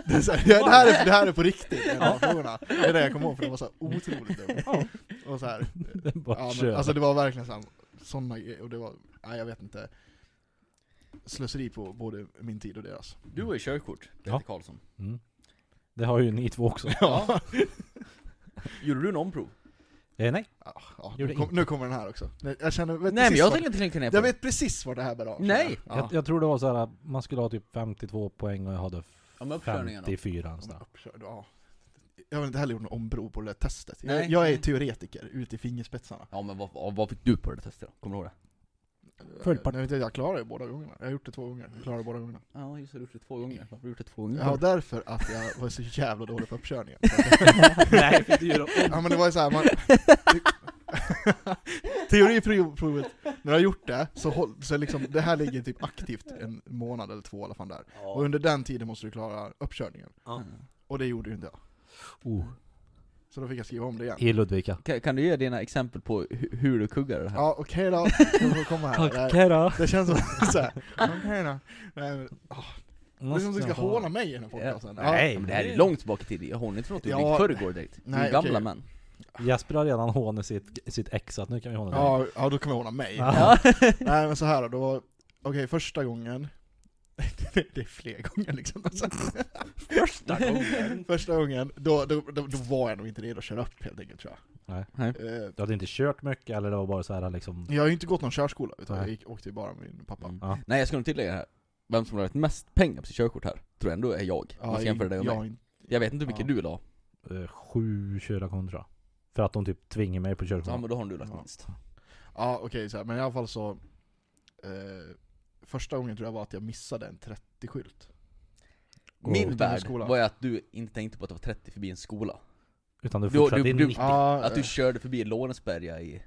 Speaker 1: Det, är så här, det, här är, det här är på riktigt, en av frågorna. Det är det jag kom ihåg för det var så här otroligt dumt.
Speaker 3: Ja,
Speaker 1: Och så här,
Speaker 3: det är bara
Speaker 1: ja,
Speaker 3: att
Speaker 1: men,
Speaker 3: köra.
Speaker 1: alltså det var verkligen så här, sådana grejer, och det var, nej jag vet inte, slöseri på både min tid och deras.
Speaker 2: Du har ju körkort, Peter
Speaker 3: Ja.
Speaker 2: Karlsson.
Speaker 3: mm. Det har ju ni två också.
Speaker 2: Ja. Gjorde du en omprov?
Speaker 3: Eh, nej.
Speaker 1: Ja, ja,
Speaker 3: Gjorde
Speaker 1: nu, kom,
Speaker 3: inte.
Speaker 1: nu kommer den här också. Nej, Jag känner, vet
Speaker 2: Nej men
Speaker 1: precis
Speaker 2: jag
Speaker 1: vad-
Speaker 2: tänker inte klinka ner på
Speaker 1: Jag
Speaker 2: det.
Speaker 1: vet precis var det här bär av.
Speaker 2: Nej!
Speaker 1: Ja.
Speaker 3: Jag, jag tror det var så här att man skulle ha typ 52 poäng och jag hade
Speaker 2: Ja, men uppkörningen då?
Speaker 3: 54
Speaker 1: Ja, men
Speaker 3: någonstans.
Speaker 1: uppkörd, ja. Jag har inte heller gjort någon omprov på det där testet. Jag,
Speaker 2: Nej.
Speaker 1: jag är teoretiker ut i fingerspetsarna.
Speaker 2: Ja men vad, vad fick du på det testet då? Kommer du ihåg det?
Speaker 3: Fullpart.
Speaker 1: Jag, jag klarar det båda gångerna. Jag har gjort det två gånger. Jag klarar det båda gångerna.
Speaker 2: Ja just det, du har gjort det två gånger. Varför har du gjort det två
Speaker 3: Mm.
Speaker 2: gånger?
Speaker 1: Ja, därför att jag var så jävla dålig på uppkörningen.
Speaker 3: Nej, fick du göra
Speaker 1: Ja men det var ju såhär, man... Teoriprovet, när jag har gjort det, så, håll, så liksom, det här ligger typ aktivt en månad eller två i alla fall där. Och under den tiden måste du klara uppkörningen.
Speaker 3: Ja.
Speaker 1: Och det gjorde ju inte jag.
Speaker 3: Oh,
Speaker 1: Så då fick jag skriva om det igen.
Speaker 3: I Ludvika.
Speaker 2: Kan, kan du ge dina exempel på hu- hur du kuggar det här?
Speaker 1: Ja okej då, ska vi komma här. Det, här-
Speaker 3: då.
Speaker 1: det känns som såhär, okej då. Nej, men, det är som att du ska håna mig i den här podcasten.
Speaker 2: Ja.
Speaker 3: Nej,
Speaker 2: men det här är
Speaker 3: det-
Speaker 2: långt bak i tiden, jag hånar inte för något du
Speaker 1: Ja.
Speaker 2: gick förrgår direkt. Du är
Speaker 1: Nej,
Speaker 2: gamla
Speaker 1: okej.
Speaker 2: män.
Speaker 3: Jesper har redan hånat sitt, sitt ex, så att nu kan vi håna dig.
Speaker 1: Ja, ja, då kommer jag håna mig.
Speaker 3: Ja.
Speaker 1: Nej men så här då, då var- okej första gången, det är fler gånger liksom.
Speaker 3: Första gången.
Speaker 1: Första gången, då, då, då, då var jag nog inte redo att köra upp helt enkelt tror jag.
Speaker 3: Nej.
Speaker 2: Nej.
Speaker 1: Eh,
Speaker 3: Du hade inte kört mycket, eller det var bara så här liksom...
Speaker 1: jag har ju inte gått någon körskola, utan
Speaker 3: Nej.
Speaker 1: jag gick, åkte ju bara med min pappa.
Speaker 2: Mm.
Speaker 3: Ja.
Speaker 2: Nej jag ska nog tillägga här, vem som har lagt mest pengar på sitt körkort här, tror jag ändå är jag. Om vi ska jämföra dig och
Speaker 1: jag,
Speaker 2: mig.
Speaker 1: jag,
Speaker 2: Jag vet inte hur mycket
Speaker 1: Ja.
Speaker 2: du la,
Speaker 3: eh, Sju körlektioner tror jag. För att de typ tvingar mig på
Speaker 2: ja
Speaker 3: körkort.
Speaker 2: men då har du lagt
Speaker 1: Ja.
Speaker 2: minst.
Speaker 1: Ja okej, så här, men i alla fall så, eh, första gången tror jag var att jag missade en 30-skylt.
Speaker 3: Och
Speaker 2: Min
Speaker 1: utanför
Speaker 2: värld
Speaker 1: skolan.
Speaker 2: var ju att du inte tänkte på att det var 30 förbi en skola.
Speaker 3: Utan du
Speaker 2: Du-
Speaker 3: fortsatte
Speaker 2: du-
Speaker 3: i
Speaker 2: du-
Speaker 3: 90.
Speaker 1: Ja,
Speaker 2: Att du
Speaker 1: eh,
Speaker 2: körde förbi Lånesberga i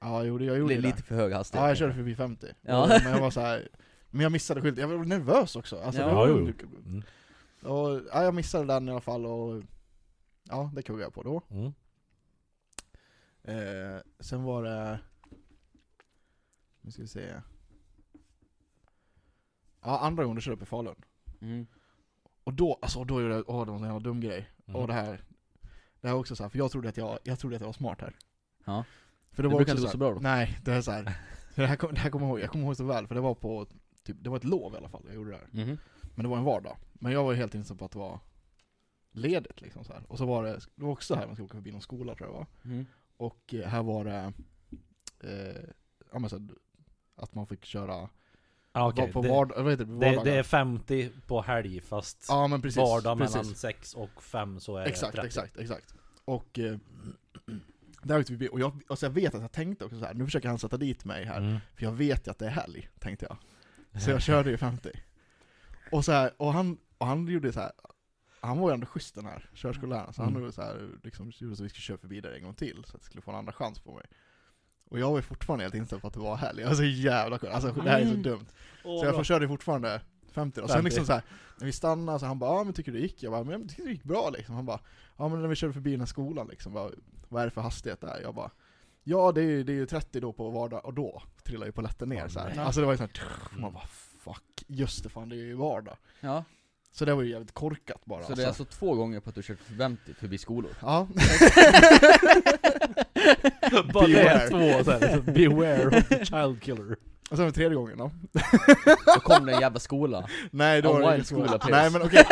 Speaker 1: ja jo, det- jag gjorde
Speaker 2: li,
Speaker 1: det.
Speaker 2: lite för hög hastighet.
Speaker 1: Ja, jag körde förbi 50.
Speaker 2: Ja.
Speaker 1: Och- Men jag var så här, men jag missade skylten, jag var nervös också. Alltså,
Speaker 2: Ja.
Speaker 1: det var,
Speaker 3: Ja, jo, Mm.
Speaker 1: Och, ja, jag missade den i alla fall och ja, det kuggade jag på då.
Speaker 3: Mm.
Speaker 1: Eh, sen var det Nu ska vi se. Ja, andra gången du körde upp i Falun.
Speaker 2: Mm.
Speaker 1: Och då, alltså då gjorde jag, åh det var en jävla dum grej.
Speaker 3: Mm.
Speaker 1: Och det här, det här var också så här, för jag trodde att jag, jag trodde att jag var smart här.
Speaker 2: Ja.
Speaker 1: För det,
Speaker 2: Det
Speaker 1: var
Speaker 2: brukar
Speaker 1: också
Speaker 2: inte gå så bra då.
Speaker 1: Nej, det är så här. Det här, kom, det här kommer jag ihåg, jag kommer ihåg så väl, för det var på, typ, det var ett lov i alla fall jag gjorde det här.
Speaker 2: Mhm.
Speaker 1: Men det var en vardag. Men jag var ju helt inställd på att det var ledigt liksom så här. Och så var det, det var också här man skulle åka förbi någon skola tror jag det var.
Speaker 2: Mm.
Speaker 1: Och eh, här var det, eh, ja men så här, att man fick köra,
Speaker 3: Ah,
Speaker 1: var på vardag, vad heter det, på
Speaker 3: det,
Speaker 1: vardagar?
Speaker 3: det är 50 på helg fast
Speaker 1: ja men precis.
Speaker 3: vardag
Speaker 1: precis.
Speaker 3: mellan 6 och 5 så är
Speaker 1: Exakt,
Speaker 3: det 30.
Speaker 1: exakt, exakt. Och eh, där åkte vi förbi. och jag, alltså jag vet att jag tänkte också så här. nu försöker han sätta dit mig här,
Speaker 3: Mm.
Speaker 1: för jag vet ju att det är helg, tänkte jag. Så jag körde ju 50. Och, så här, och, han, och han gjorde så här. han var ju ändå schysst den här körskolläraren, så han
Speaker 3: Mm.
Speaker 1: gjorde så här, liksom, gjorde så att vi skulle köra förbi där en gång till, så att jag skulle få en andra chans på mig. Och jag var ju fortfarande helt inställd på att det var helg, jag var så jävla cool. alltså det här är så
Speaker 3: Mm.
Speaker 1: dumt.
Speaker 3: Åh,
Speaker 1: Så jag
Speaker 3: bra.
Speaker 1: får körde ju fortfarande 50 och sen
Speaker 3: 50.
Speaker 1: liksom så här, när vi stannade så han bara ah, men tycker du det gick?' Jag bara 'Men jag tycker det gick bra' liksom. Han bara 'Ja men när vi körde förbi den här skolan liksom, bara, vad är det för hastighet där?' Jag bara 'Ja det är, ju- det är ju 30 då på vardag' och då trillar ju polletten ner
Speaker 3: Åh,
Speaker 1: så
Speaker 3: nej.
Speaker 1: här. Alltså det var ju såhär, man bara 'Fuck, just det fan det är ju vardag'
Speaker 2: Mm. Ja,
Speaker 1: Så det var ju jävligt korkat bara
Speaker 2: så det är alltså två gånger på att du kört 50 förbi skolor?
Speaker 1: Ja,
Speaker 3: Bara det
Speaker 1: Beware.
Speaker 3: är två så här, liksom, Beware of the child killer.
Speaker 1: och sen var det tredje gången då.
Speaker 2: Då kom det en jävla skola
Speaker 1: Nej då
Speaker 2: A
Speaker 1: var det
Speaker 2: wild
Speaker 1: inget
Speaker 2: school
Speaker 1: skola. Nej
Speaker 2: appears.
Speaker 1: men okej,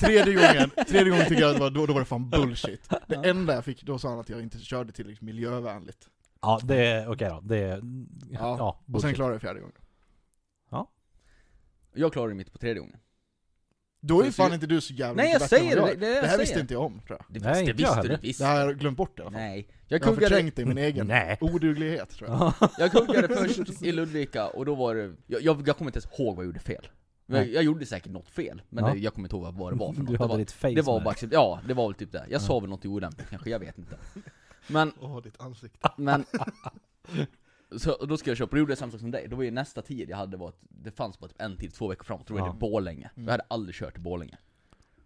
Speaker 1: tredje gången, tredje gången tycker jag att det var, då, då var det fan bullshit. Det enda jag fick, då sa han att jag inte körde tillräckligt miljövänligt.
Speaker 3: Ja, det är okej då. Det är... Ja, ja
Speaker 1: Och sen
Speaker 3: bullshit.
Speaker 1: klarade jag fjärde gången.
Speaker 2: Jag klarade det mitt på tredje gången
Speaker 1: Då är ju
Speaker 2: Så-
Speaker 1: fan inte du så jävla
Speaker 2: Nej
Speaker 1: mycket
Speaker 2: jag
Speaker 1: bättre än
Speaker 2: säger
Speaker 1: vad
Speaker 2: det,
Speaker 1: jag är.
Speaker 2: det är det
Speaker 1: Det
Speaker 2: jag
Speaker 1: här visste
Speaker 2: säger
Speaker 1: inte jag om tror jag.
Speaker 2: Det
Speaker 3: Nej,
Speaker 2: visste,
Speaker 3: inte
Speaker 2: det
Speaker 3: jag
Speaker 2: visste du
Speaker 3: heller.
Speaker 2: visst
Speaker 1: Det här har jag glömt bort i alla fall.
Speaker 2: Nej, jag Mm.
Speaker 1: Jag har
Speaker 2: kuggade,
Speaker 1: förträngt det i min egen
Speaker 3: Mm, Nej.
Speaker 1: oduglighet tror jag.
Speaker 2: jag kuggade först i Ludvika och då var det, jag, jag, jag kommer inte ens ihåg vad jag gjorde fel Men
Speaker 3: Nej.
Speaker 2: Jag gjorde säkert något fel, men
Speaker 3: Ja.
Speaker 2: det- jag kommer inte ihåg vad det var för något
Speaker 3: Du
Speaker 2: Det
Speaker 3: hade
Speaker 2: var,
Speaker 3: ditt face
Speaker 2: det var
Speaker 3: med.
Speaker 2: bara, accept- ja det var väl typ det, jag sa väl något olämpligt kanske, jag vet inte Men,
Speaker 1: Åh, ditt ansikte.
Speaker 2: men Så och då ska jag köpa, då gjorde jag samma sak som dig, då var ju nästa tid jag hade var att det fanns bara typ en tid, två veckor framåt, då var
Speaker 3: Ja.
Speaker 2: det Borlänge
Speaker 1: Mm.
Speaker 2: Jag hade aldrig kört till Borlänge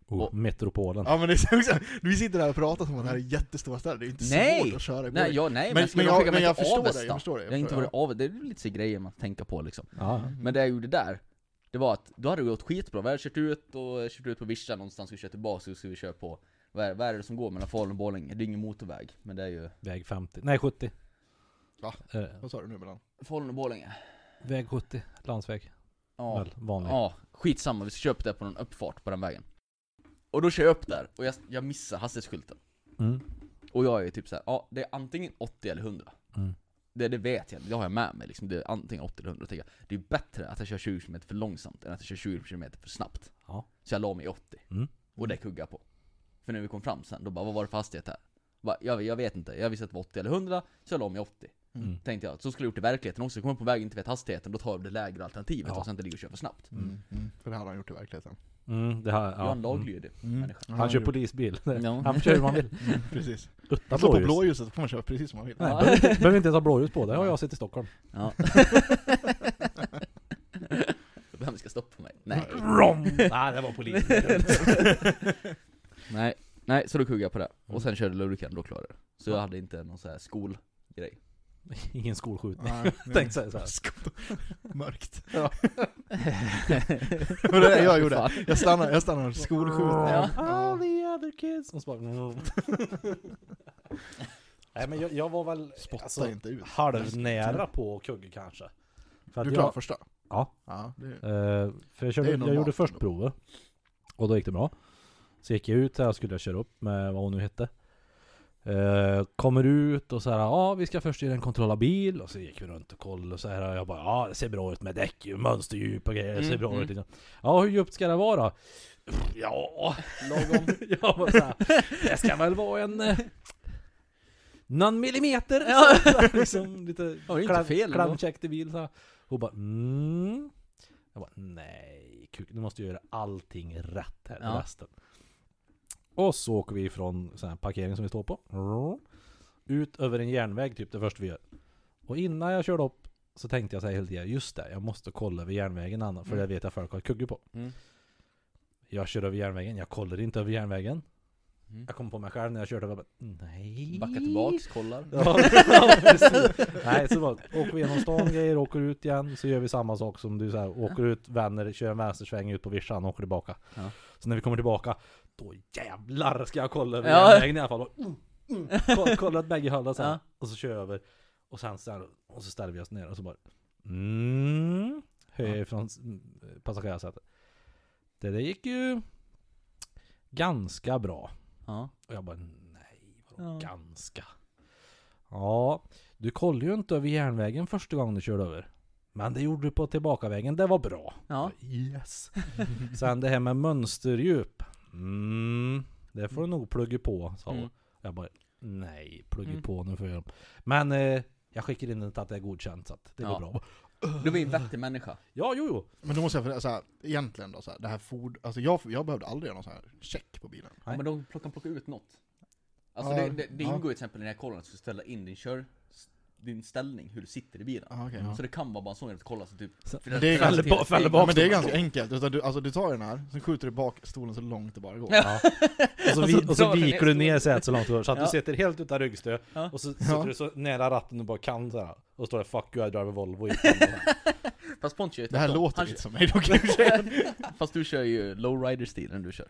Speaker 3: oh, Metropolen.
Speaker 1: Ja men det är så också, vi sitter där och pratar som att det här är jättestora städer, det är inte
Speaker 2: Nej.
Speaker 1: svårt att köra i
Speaker 2: Nej,
Speaker 1: Borlänge.
Speaker 2: jag, nej men,
Speaker 1: Men-
Speaker 2: skulle
Speaker 1: men
Speaker 2: de
Speaker 1: jag-
Speaker 2: skicka mig
Speaker 1: men jag
Speaker 2: till
Speaker 1: förstår det, jag
Speaker 2: Avesta?
Speaker 1: förstår det, jag
Speaker 2: Jag har inte
Speaker 1: förstår
Speaker 2: varit av, det är lite så grejer man tänker på liksom
Speaker 3: Ja.
Speaker 2: Men det jag gjorde där, det var att då hade det gått skitbra. Vi hade kört ut och kört ut på Vischa någonstans, vi kör tillbaka och så skulle vi köra på vad är, vad är det som går mellan Falun och Borlänge? Det är ingen motorväg, men det är ju
Speaker 3: Väg 50. Nej, 70.
Speaker 1: Va?
Speaker 3: Eh,
Speaker 1: Vad sa du nu mellan?
Speaker 2: Falun och Borlänge.
Speaker 3: väg 70. Landsväg.
Speaker 2: Ja,
Speaker 3: Väl, vanlig.
Speaker 2: ja skitsamma. Vi ska köra upp där på någon uppfart på den vägen. Och då kör jag upp där och jag, jag missar hastighetsskylten.
Speaker 3: Mm.
Speaker 2: Och jag är ju typ så här, ja det är antingen 80 eller 100.
Speaker 3: Mm.
Speaker 2: Det, det vet jag, det har jag med mig liksom. Det är antingen 80 eller 100. Tänker jag, det är bättre att jag kör 20 km för långsamt än att jag kör 20 km för snabbt.
Speaker 3: Ja.
Speaker 2: Så jag la mig i 80.
Speaker 3: Mm.
Speaker 2: Och det kuggade jag på. För när vi kom fram sen, då bara vad var det för hastighet här? Bara, jag, jag vet inte, jag visste att det var 80 eller 100, så jag la mig i 80.
Speaker 3: Mm.
Speaker 2: Tänkte jag, så skulle jag gjort i verkligheten också. Kommer jag på vägen inte vet hastigheten, då tar jag det lägre alternativet
Speaker 3: Ja.
Speaker 2: och sen inte ligger och kör för snabbt.
Speaker 1: Mm. Mm. För det hade han gjort i verkligheten.
Speaker 3: Mm, det här,
Speaker 2: Jag är
Speaker 3: ja.
Speaker 2: en
Speaker 3: Mm.
Speaker 2: laglydig
Speaker 1: Mm.
Speaker 2: människa.
Speaker 3: Han kör polisbil.
Speaker 2: Ja.
Speaker 3: Han kör hur man vill.
Speaker 1: Mm, precis.
Speaker 3: Utta
Speaker 1: Han slår på
Speaker 3: blåljus.
Speaker 1: blåljuset så får man köra precis som man vill.
Speaker 3: Nej,
Speaker 2: Ja.
Speaker 3: behöver, inte, behöver inte ens ha blåljus på. Det har jag sett i Stockholm.
Speaker 2: Ja. Vem ska stoppa mig? Nej.
Speaker 3: Rom. Nej, det var polisen.
Speaker 2: nej. Nej, så då kuggade jag på det. Och sen körde Lurikan, då klarade jag det. Så jag hade inte någon sån här skolgrej.
Speaker 3: Ingen skolskjutning.
Speaker 1: Nej,
Speaker 3: Tänkte säga så här.
Speaker 1: Skott- Mörkt. Det var det jag gjorde.
Speaker 2: Fan.
Speaker 1: Jag stannade, jag stannade och skolskjutning.
Speaker 2: Ja.
Speaker 3: All the other kids. Och så bara... "Mm." Nej men jag, jag var väl
Speaker 1: Spotta
Speaker 3: alltså,
Speaker 1: inte ut.
Speaker 3: halvnära på att kugga kanske. För att
Speaker 1: Du klarade
Speaker 3: jag,
Speaker 1: första?
Speaker 3: Ja.
Speaker 1: Ja, det är...
Speaker 3: eh, för jag, körde,
Speaker 1: Det är
Speaker 3: jag
Speaker 1: normalt
Speaker 3: gjorde först
Speaker 1: ändå.
Speaker 3: provet. Och då gick det bra. Så gick jag ut där och skulle jag köra upp med vad hon nu hette. Eh, kommer ut och så här, ja vi ska först göra en kontroll av bil. Och så gick vi runt och kollade och så här. Jag bara, ja det ser bra ut med däck, mönsterdjup och grejer. Det ser
Speaker 2: Mm,
Speaker 3: bra
Speaker 2: mm.
Speaker 3: ut liksom. Ja hur djupt ska det vara då? Ja, lagom. jag var så här, det ska väl vara en... eh, Någon millimeter! Ja. Så, här, liksom lite
Speaker 2: Ja, det är inte fel ändå.
Speaker 3: klamcheckt i bil så här. Hon bara mm. Jag bara nej, kuk, du måste göra allting rätt här
Speaker 2: Ja.
Speaker 3: resten. Och så åker vi från sån här parkering som vi står på. Ut över en järnväg typ det första vi gör. Och innan jag körde upp så tänkte jag så här hela tiden, just det, jag måste kolla över järnvägen annan, för
Speaker 2: Mm.
Speaker 3: det vet jag folk har kugge på.
Speaker 2: Mm.
Speaker 3: Jag kör över järnvägen, jag kollar inte över järnvägen.
Speaker 2: Mm.
Speaker 3: Jag kom på mig själv när jag körde, jag bara, nej.
Speaker 2: Backa tillbaks, kollar.
Speaker 3: Ja, ja, precis. Nej, så bara, åker vi genom stan grejer, åker ut igen, så gör vi samma sak som du så här, åker ut, vänder, kör en vänstersväng ut på vischan och åker tillbaka.
Speaker 2: Ja.
Speaker 3: Så när vi kommer tillbaka, då jävlar ska jag kolla över
Speaker 2: Ja.
Speaker 3: järnvägen i alla fall. Och, mm, mm, kolla, kolla åt bägge hållen sen.
Speaker 2: Ja.
Speaker 3: Och så kör jag över. Och sen, sen och så ställer vi oss ner och så bara mm, höjer från mm, passagerarsätet. Det där gick ju ganska bra.
Speaker 2: Ja.
Speaker 3: Och jag bara nej, vadå
Speaker 2: Ja.
Speaker 3: ganska? Ja, du kollade ju inte över järnvägen första gången du körde över. Men det gjorde du på tillbakavägen, det var bra.
Speaker 2: Ja.
Speaker 3: Yes. Sen det här med mönsterdjup. Mm, det får du nog plugga på, sa hon.
Speaker 2: Mm.
Speaker 3: Jag bara nej, plugga
Speaker 2: Mm.
Speaker 3: på nu får jag göra om. Men eh, jag skickar in inte att det är godkänt så att det går
Speaker 2: Ja.
Speaker 3: bra.
Speaker 2: Du var ju en vettig människa.
Speaker 3: Ja, jo, jo.
Speaker 1: Men då måste jag fundera såhär, egentligen då såhär, det här ford, alltså jag, jag behövde aldrig göra någon sån här check på bilen.
Speaker 2: Ja,
Speaker 3: Nej.
Speaker 2: men de plockar, plockar ut något. Alltså
Speaker 1: Ja,
Speaker 2: det, det, det
Speaker 1: ja.
Speaker 2: ingår ju till exempel i den här kollen att du ska ställa in din kör, din ställning, hur du sitter i bilen.
Speaker 1: Ah, okay,
Speaker 2: Så det kan vara bara en sån grej att kolla så typ...
Speaker 3: Så-
Speaker 2: för-
Speaker 1: det är
Speaker 2: för-
Speaker 1: ganska-
Speaker 2: för-
Speaker 3: fäller
Speaker 1: Ja,
Speaker 3: bak-
Speaker 1: men det är ganska enkelt, utan du, alltså, du tar den här, sen skjuter du bak stolen så långt det bara går.
Speaker 3: Ja. Och, så vi, och så
Speaker 2: drar du
Speaker 3: viker
Speaker 2: ner
Speaker 3: du ner sätet så långt du går, så att
Speaker 2: Ja.
Speaker 3: du sitter helt utan ryggstöd
Speaker 2: Ja.
Speaker 3: och så sitter
Speaker 1: Ja.
Speaker 3: du så nära ratten du bara kan så här. Och står det 'Fuck you, I drive a Volvo' i handen.
Speaker 2: Fast Pontus kör ju
Speaker 1: Det här
Speaker 2: tvärtom.
Speaker 1: låter
Speaker 2: Han
Speaker 1: lite
Speaker 2: kör-
Speaker 1: som mig dock. i och för sig.
Speaker 2: Fast du kör ju lowrider-stilen du kör.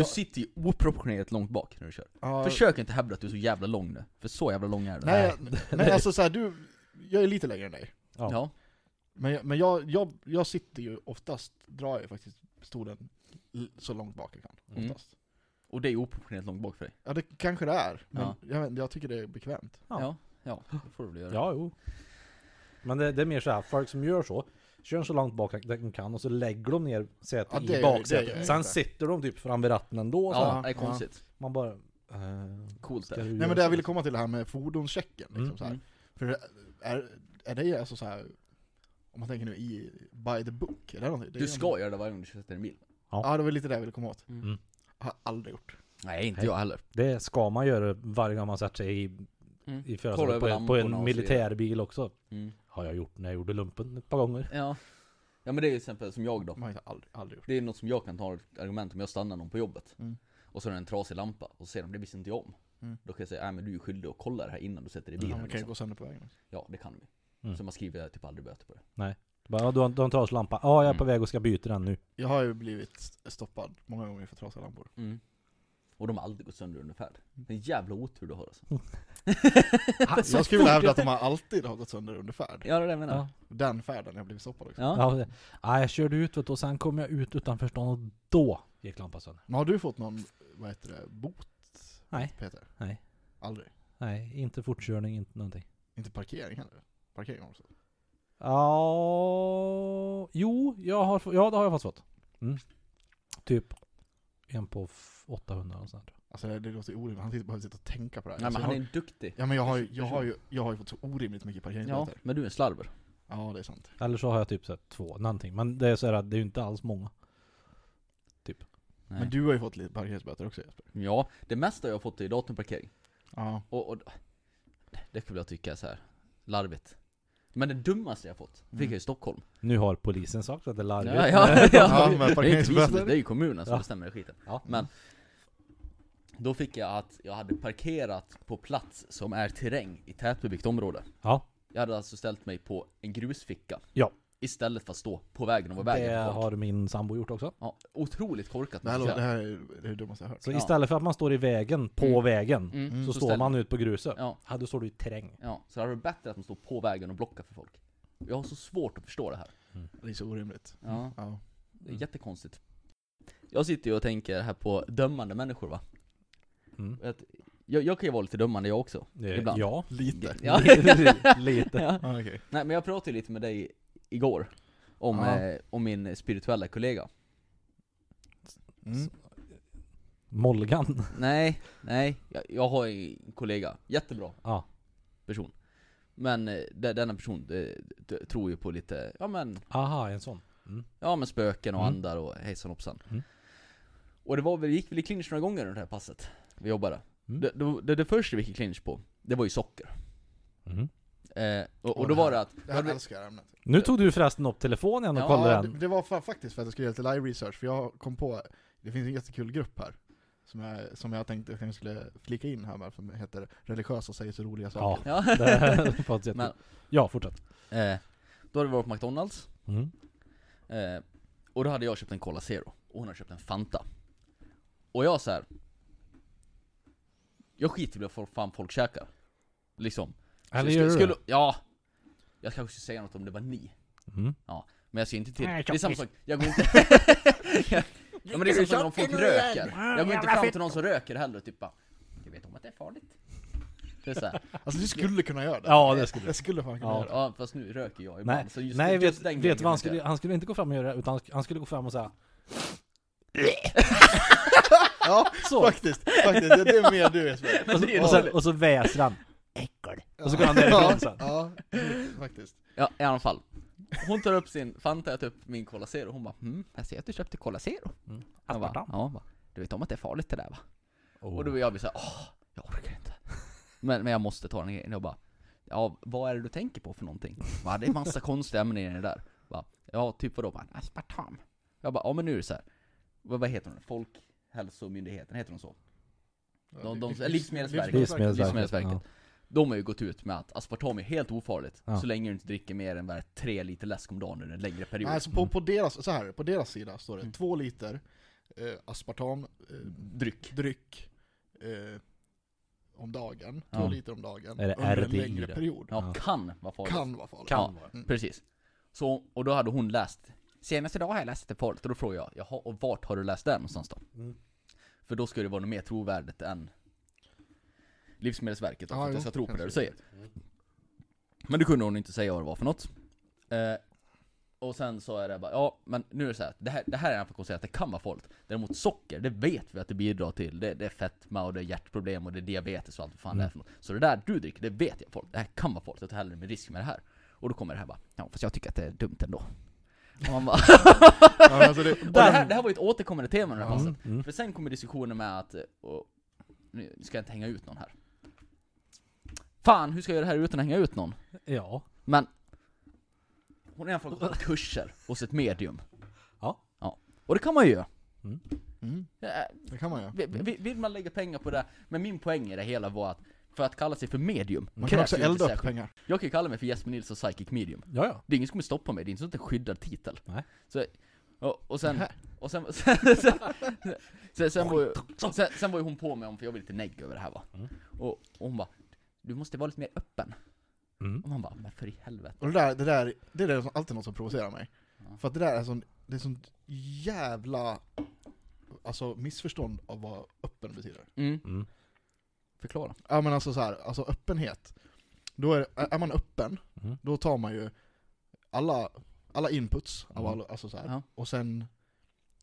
Speaker 1: Ja.
Speaker 2: sitter ju oproportionerligt långt bak när du kör.
Speaker 1: Ja,
Speaker 2: Försök inte hävda att du är så jävla lång nu, för så jävla lång är du.
Speaker 1: nej, jag- nej alltså såhär, du, jag är lite längre än dig.
Speaker 3: Ja.
Speaker 2: Ja.
Speaker 1: Men, jag- men jag, jag, jag sitter ju oftast, drar jag faktiskt stolen l- så långt bak jag kan.
Speaker 2: Mm.
Speaker 1: Oftast.
Speaker 2: Och det är ju oproportionerligt långt bak för dig.
Speaker 1: Ja det kanske det är, men
Speaker 2: Ja.
Speaker 1: jag, vet, jag tycker det är bekvämt.
Speaker 3: Ja.
Speaker 2: Ja, ja det får du väl göra.
Speaker 3: Ja, jo. Men det, det är mer så här, folk som gör så, kör så långt bak de kan och så lägger de ner sätet
Speaker 1: Ja, det gör-
Speaker 3: i
Speaker 1: det gör
Speaker 3: baksätet.
Speaker 1: jag
Speaker 3: Sen
Speaker 1: inte.
Speaker 3: sitter de typ fram vid ratten ändå. Så här.
Speaker 2: Ja, det är
Speaker 1: Ja.
Speaker 2: konstigt.
Speaker 3: Man bara... eh,
Speaker 2: Coolt
Speaker 3: ska
Speaker 2: där.
Speaker 3: du
Speaker 1: Nej
Speaker 3: göra
Speaker 1: men det jag
Speaker 3: så?
Speaker 1: ville komma till det här med fordonschecken. Liksom,
Speaker 3: Mm.
Speaker 1: så här.
Speaker 2: Mm.
Speaker 1: För är, är det alltså så här, om man tänker nu i by the book, är det någonting? Det är
Speaker 2: Du
Speaker 1: ju
Speaker 2: ska göra det varje gång du sätter en bil.
Speaker 1: Ja det var lite det jag ville komma åt.
Speaker 2: Mm.
Speaker 3: Mm.
Speaker 1: Har jag aldrig gjort.
Speaker 2: Nej, inte
Speaker 3: Nej.
Speaker 2: jag heller.
Speaker 3: Det ska man göra varje gång man sätter sig i,
Speaker 2: Mm.
Speaker 3: i
Speaker 2: Kolla
Speaker 3: förarsätet
Speaker 2: över
Speaker 3: på, en- på
Speaker 2: lamporna och
Speaker 3: en
Speaker 2: så vidare.
Speaker 3: militärbil också.
Speaker 2: Mm.
Speaker 3: Har jag gjort när jag gjorde lumpen ett par gånger.
Speaker 2: Ja. ja, men det är ju till exempel som jag då.
Speaker 1: Man har inte aldrig, aldrig gjort.
Speaker 2: Det är något som jag kan ta ett argument om jag stannar någon på jobbet.
Speaker 1: Mm.
Speaker 2: Och så är det en trasig lampa, och så säger de det visste inte jag om.
Speaker 1: Mm.
Speaker 2: Då kan jag säga, nej men du är ju skyldig att kolla det här innan du sätter dig i
Speaker 1: Ja,
Speaker 2: bilen.
Speaker 1: man kan ju
Speaker 2: liksom.
Speaker 1: gå sönder på vägen.
Speaker 2: ja det kan vi.
Speaker 3: Mm.
Speaker 2: Så man skriver typ aldrig böter på det.
Speaker 3: Bara, ja, du har, du har en traslampa. Ja, jag är på
Speaker 2: Mm.
Speaker 3: väg och ska byta den nu.
Speaker 1: Jag har ju blivit stoppad många gånger för trasiga lampor.
Speaker 2: Mm. Och de har aldrig gått sönder under färd. Det är en jävla otur du har alltså.
Speaker 1: Jag skulle vilja hävda att de har alltid har gått sönder under färd.
Speaker 2: Ja det är det jag menar.
Speaker 3: Ja.
Speaker 1: Den färden jag blivit stoppad liksom. också.
Speaker 2: Ja.
Speaker 3: Ja, det- ja, jag körde ut vet du, och sen kom jag ut utanför stan och då gick lampan sönder.
Speaker 1: Men har du fått någon, vad heter det, bot
Speaker 3: Nej,
Speaker 1: Peter?
Speaker 3: Nej.
Speaker 1: Aldrig?
Speaker 3: nej, inte fortkörning, inte någonting.
Speaker 1: Inte parkering heller? Parkering också?
Speaker 3: Ja, jo, jag har, ja, det har jag faktiskt fått. Mm. Typ en på f- 800 och sånt.
Speaker 1: Alltså det, det låter ju orimligt, han sitter- behöver sitta och tänka på det här.
Speaker 2: Nej men
Speaker 1: alltså,
Speaker 2: han är
Speaker 1: jag,
Speaker 2: en duktig.
Speaker 1: ja men jag har, ju- jag, har ju, jag har ju fått så orimligt mycket
Speaker 2: Ja,
Speaker 1: parkeringsböter.
Speaker 2: men du är en slarver.
Speaker 1: Ja. det är sant.
Speaker 3: Eller så har jag typ så här, två, någonting. Men det är så här, att det är ju inte alls många.
Speaker 2: Nej.
Speaker 1: Men du har ju fått lite parkeringsböter också Jesper.
Speaker 2: Ja, det mesta jag har fått är datumparkering.
Speaker 1: Ja.
Speaker 2: Och, och det kan väl jag tycka är så här larvigt. Men det dummaste jag fått, fick
Speaker 1: Mm.
Speaker 2: jag i Stockholm.
Speaker 3: Nu har polisen sagt att det är larvigt.
Speaker 1: Ja, men
Speaker 2: Det är inte vi som-
Speaker 1: parkeringsböter.
Speaker 2: Det är ju kommunen som
Speaker 3: Ja.
Speaker 2: bestämmer den skiten.
Speaker 3: Ja.
Speaker 2: Men då fick jag att jag hade parkerat på plats som är terräng i tätbebyggt område.
Speaker 3: Ja,
Speaker 2: Jag hade alltså ställt mig på en grusficka.
Speaker 3: Ja.
Speaker 2: Istället för att stå på vägen och vara vägen.
Speaker 3: det
Speaker 2: är korkad.
Speaker 3: har min sambo gjort också.
Speaker 2: Ja, otroligt korkat.
Speaker 1: Det här, lå-
Speaker 2: måste
Speaker 1: det
Speaker 2: jag
Speaker 1: här är det dummaste jag har hört.
Speaker 3: Så
Speaker 2: Ja.
Speaker 3: istället för att man står i vägen, på
Speaker 2: Mm.
Speaker 3: vägen,
Speaker 2: säga. Mm,
Speaker 1: Mm.
Speaker 3: så, står
Speaker 2: ställer-
Speaker 3: man ut på gruset.
Speaker 2: Ja.
Speaker 3: Ja, då står du i terräng.
Speaker 2: Ja, så det hade varit bättre att man står på vägen och blockar för folk. Jag har så svårt att förstå det här.
Speaker 1: Det är så orimligt.
Speaker 2: Ja.
Speaker 1: Ja.
Speaker 2: Det är jättekonstigt. Jag sitter ju och tänker här på dömande människor va.
Speaker 3: Mm.
Speaker 2: Att jag, jag kan ju vara lite dömande jag också.
Speaker 3: Eh,
Speaker 2: Ibland.
Speaker 3: Ja.
Speaker 1: Lite.
Speaker 2: Ja.
Speaker 3: Lite.
Speaker 2: Ja.
Speaker 1: Ah, okej.
Speaker 2: Nej men jag pratade ju lite med dig igår. Om,
Speaker 1: Ja.
Speaker 2: eh, om min spirituella kollega.
Speaker 1: mm.
Speaker 3: Molgan.
Speaker 2: Nej, nej. Jag, jag har ju en kollega, jättebra
Speaker 3: Ja.
Speaker 2: person. Men eh, de- denna person eh, d- tror ju på lite, ja men
Speaker 3: Aha, en sån.
Speaker 2: Ja men spöken och
Speaker 3: Mm.
Speaker 2: andar och hejsan hoppsan.
Speaker 3: Mm.
Speaker 2: Och det var väl, gick väl i clinch några gånger under det här passet. Vi jobbade.
Speaker 3: Mm.
Speaker 2: Det, det, det, det första vi gick i clinch på, det var ju socker.
Speaker 3: Mm.
Speaker 2: Eh, och, och
Speaker 1: Åh,
Speaker 2: då
Speaker 1: det
Speaker 2: var
Speaker 1: här-
Speaker 2: det att,
Speaker 1: Det här älskar jag ämnet.
Speaker 3: Nu tog du förresten upp telefonen igen och
Speaker 2: Ja,
Speaker 3: kollade
Speaker 1: Ja, det,
Speaker 3: den.
Speaker 1: det var fa- faktiskt för att jag skulle göra lite live research, för jag kom på, det finns en jättekul grupp här. Som jag, som jag tänkte att jag skulle flika in här med, för det heter religiösa säger så roliga
Speaker 3: Ja,
Speaker 1: saker.
Speaker 2: Ja.
Speaker 3: det är faktiskt jätte...
Speaker 2: Men,
Speaker 3: Ja, fortsätt.
Speaker 2: eh, då hade vi varit på McDonalds,
Speaker 3: Mm.
Speaker 2: eh, och då hade jag köpt en Cola Zero, och hon hade köpt en Fanta. Och jag så här. Jag skiter i vad folk- fan folk käkar. Liksom.
Speaker 3: Eller
Speaker 2: Så
Speaker 3: gör du
Speaker 2: skulle,
Speaker 3: det?
Speaker 2: Ja. Jag kanske skulle säga något om det var ni.
Speaker 3: Mm.
Speaker 2: Men jag ser inte till.
Speaker 4: Nej,
Speaker 2: det är samma
Speaker 4: tjockis.
Speaker 2: sak, jag går inte... ja, men det är samma sak när folk röker. Jag går inte fram till någon som röker heller och typ bara, Jag vet om att det är farligt. Det är så här.
Speaker 1: Alltså du skulle kunna göra det.
Speaker 3: Ja, det skulle
Speaker 1: Jag skulle fan kunna
Speaker 3: Ja.
Speaker 1: göra det.
Speaker 2: Ja fast nu röker jag ibland.
Speaker 3: Nej,
Speaker 2: så just,
Speaker 3: nej
Speaker 2: just
Speaker 3: vet,
Speaker 2: den
Speaker 3: vet
Speaker 2: grejen
Speaker 3: du vad han
Speaker 2: kan jag
Speaker 3: skulle,
Speaker 2: inte
Speaker 3: han skulle inte gå fram och göra det, utan han sk- han skulle gå fram och säga
Speaker 1: Ja,
Speaker 3: så.
Speaker 1: faktiskt. faktiskt. Det det är mer du Jesper.
Speaker 3: Och så,
Speaker 2: det är
Speaker 3: och sen,
Speaker 2: dåligt.
Speaker 3: och så väser han. Äckel. Och så går han därifrån sen.
Speaker 1: Ja, ja, faktiskt.
Speaker 2: göra. Ja i alla fall. Hon tar upp sin Fanta, jag tar upp min Cola Zero. Hon bara hm, jag ser att du köpte Cola Zero. Jag bara, ja,
Speaker 3: Aspartam.
Speaker 2: hon bara, du vet om att det är farligt det där va?
Speaker 3: Oh.
Speaker 2: Och då blir jag blir såhär, åh, jag orkar inte. Men, men jag måste ta den grejen. Jag bara, ja vad är det du tänker på för någonting? Va, det är massa konstiga ämnen i det där. Va, ja, typ vadå? Bara, aspartam. Jag bara, ja men nu är det såhär. Vad, vad heter hon? Folkhälsomyndigheten, heter de så? De- de- Livsmedelsverket. Livsmedelsverket.
Speaker 3: Ja.
Speaker 2: De har ju gått ut med att aspartam är helt ofarligt,
Speaker 3: Ja.
Speaker 2: så länge du inte dricker mer än bara tre liter läsk om dagen under en längre period.
Speaker 1: Nej, så på, på, deras, så här, på deras sida står det
Speaker 2: Mm.
Speaker 1: två liter eh, aspartam, eh,
Speaker 2: Dryck.
Speaker 1: dryck eh, om dagen. Två
Speaker 2: Ja.
Speaker 1: liter om dagen.
Speaker 3: Är det
Speaker 1: under en
Speaker 3: RDI
Speaker 1: längre
Speaker 3: då?
Speaker 1: period.
Speaker 2: Ja,
Speaker 3: Ja.
Speaker 2: kan vara farligt.
Speaker 1: Kan vara farligt.
Speaker 2: Kan
Speaker 3: vara.
Speaker 1: Mm.
Speaker 2: Precis. Så, och då hade hon läst Senast idag har jag läst det farligt och då frågar jag Jaha, och vart har du läst det någonstans då?
Speaker 3: Mm.
Speaker 2: För då ska det vara något mer trovärdigt än Livsmedelsverket då,
Speaker 1: Ja,
Speaker 2: för att
Speaker 1: jo,
Speaker 2: jag ska tro på det
Speaker 1: kanske
Speaker 2: du säger Men det kunde hon inte säga vad det var för något eh, Och sen så är det bara, ja men nu är det så här, att det här, det här är en för att det kan vara farligt Däremot socker, det vet vi att det bidrar till Det, det är fetma och det är hjärtproblem och det är diabetes och allt vad fan det är för något Så det där du dricker, det vet jag folk, det här kan vara farligt, jag tar hellre med risk med det här Och då kommer det här bara, ja fast jag tycker att det är dumt ändå och man bara,
Speaker 1: Ja, alltså det,
Speaker 2: och det, här, det här var ju ett återkommande tema i den här
Speaker 3: Mm,
Speaker 2: passet.
Speaker 3: mm.
Speaker 2: För sen kommer diskussionen med att, eh, och, nu ska jag inte hänga ut någon här. Fan, hur ska jag göra det här utan att hänga ut någon?
Speaker 3: ja.
Speaker 2: Men, hon har i alla fall gått på kurser hos ett medium.
Speaker 3: Ja.
Speaker 2: ja. Och det kan man ju göra.
Speaker 1: mm,
Speaker 2: Eh,
Speaker 1: det kan man göra.
Speaker 2: vi- vi- Vill man lägga pengar på det, men min poäng i det hela var att för att kalla sig för medium
Speaker 1: Man kan
Speaker 2: krävs
Speaker 1: också
Speaker 2: ju inte
Speaker 1: elda upp
Speaker 2: särskilt-
Speaker 1: pengar.
Speaker 2: Jag kan ju kalla mig för Jesper Nilsson Psychic Medium.
Speaker 3: Ja, ja.
Speaker 2: Det är ingen som kommer stoppa mig, det är inte sånt en skyddad titel.
Speaker 3: Nej.
Speaker 2: Så, och, och sen,
Speaker 1: Nähä.
Speaker 2: och sen, sen, sen, sen, sen, var ju, sen, sen var ju hon på mig om, för jag var lite negg över det här va.
Speaker 3: Mm.
Speaker 2: Och, och hon bara, du måste vara lite mer öppen.
Speaker 3: Mm.
Speaker 2: Och man bara, men för i helvete.
Speaker 1: Och det där, det där, det där är som- alltid något som provocerar mig.
Speaker 2: Ja.
Speaker 1: För att det där är sån, det är sånt jävla alltså, missförstånd av vad öppen betyder.
Speaker 2: Mm.
Speaker 3: Mm.
Speaker 2: Förklara.
Speaker 1: Ja men alltså så här, alltså öppenhet. Då är, är man öppen,
Speaker 3: Mm.
Speaker 1: då tar man ju alla, alla inputs, av
Speaker 3: Mm.
Speaker 1: alla, alltså så här,
Speaker 2: Ja.
Speaker 1: och sen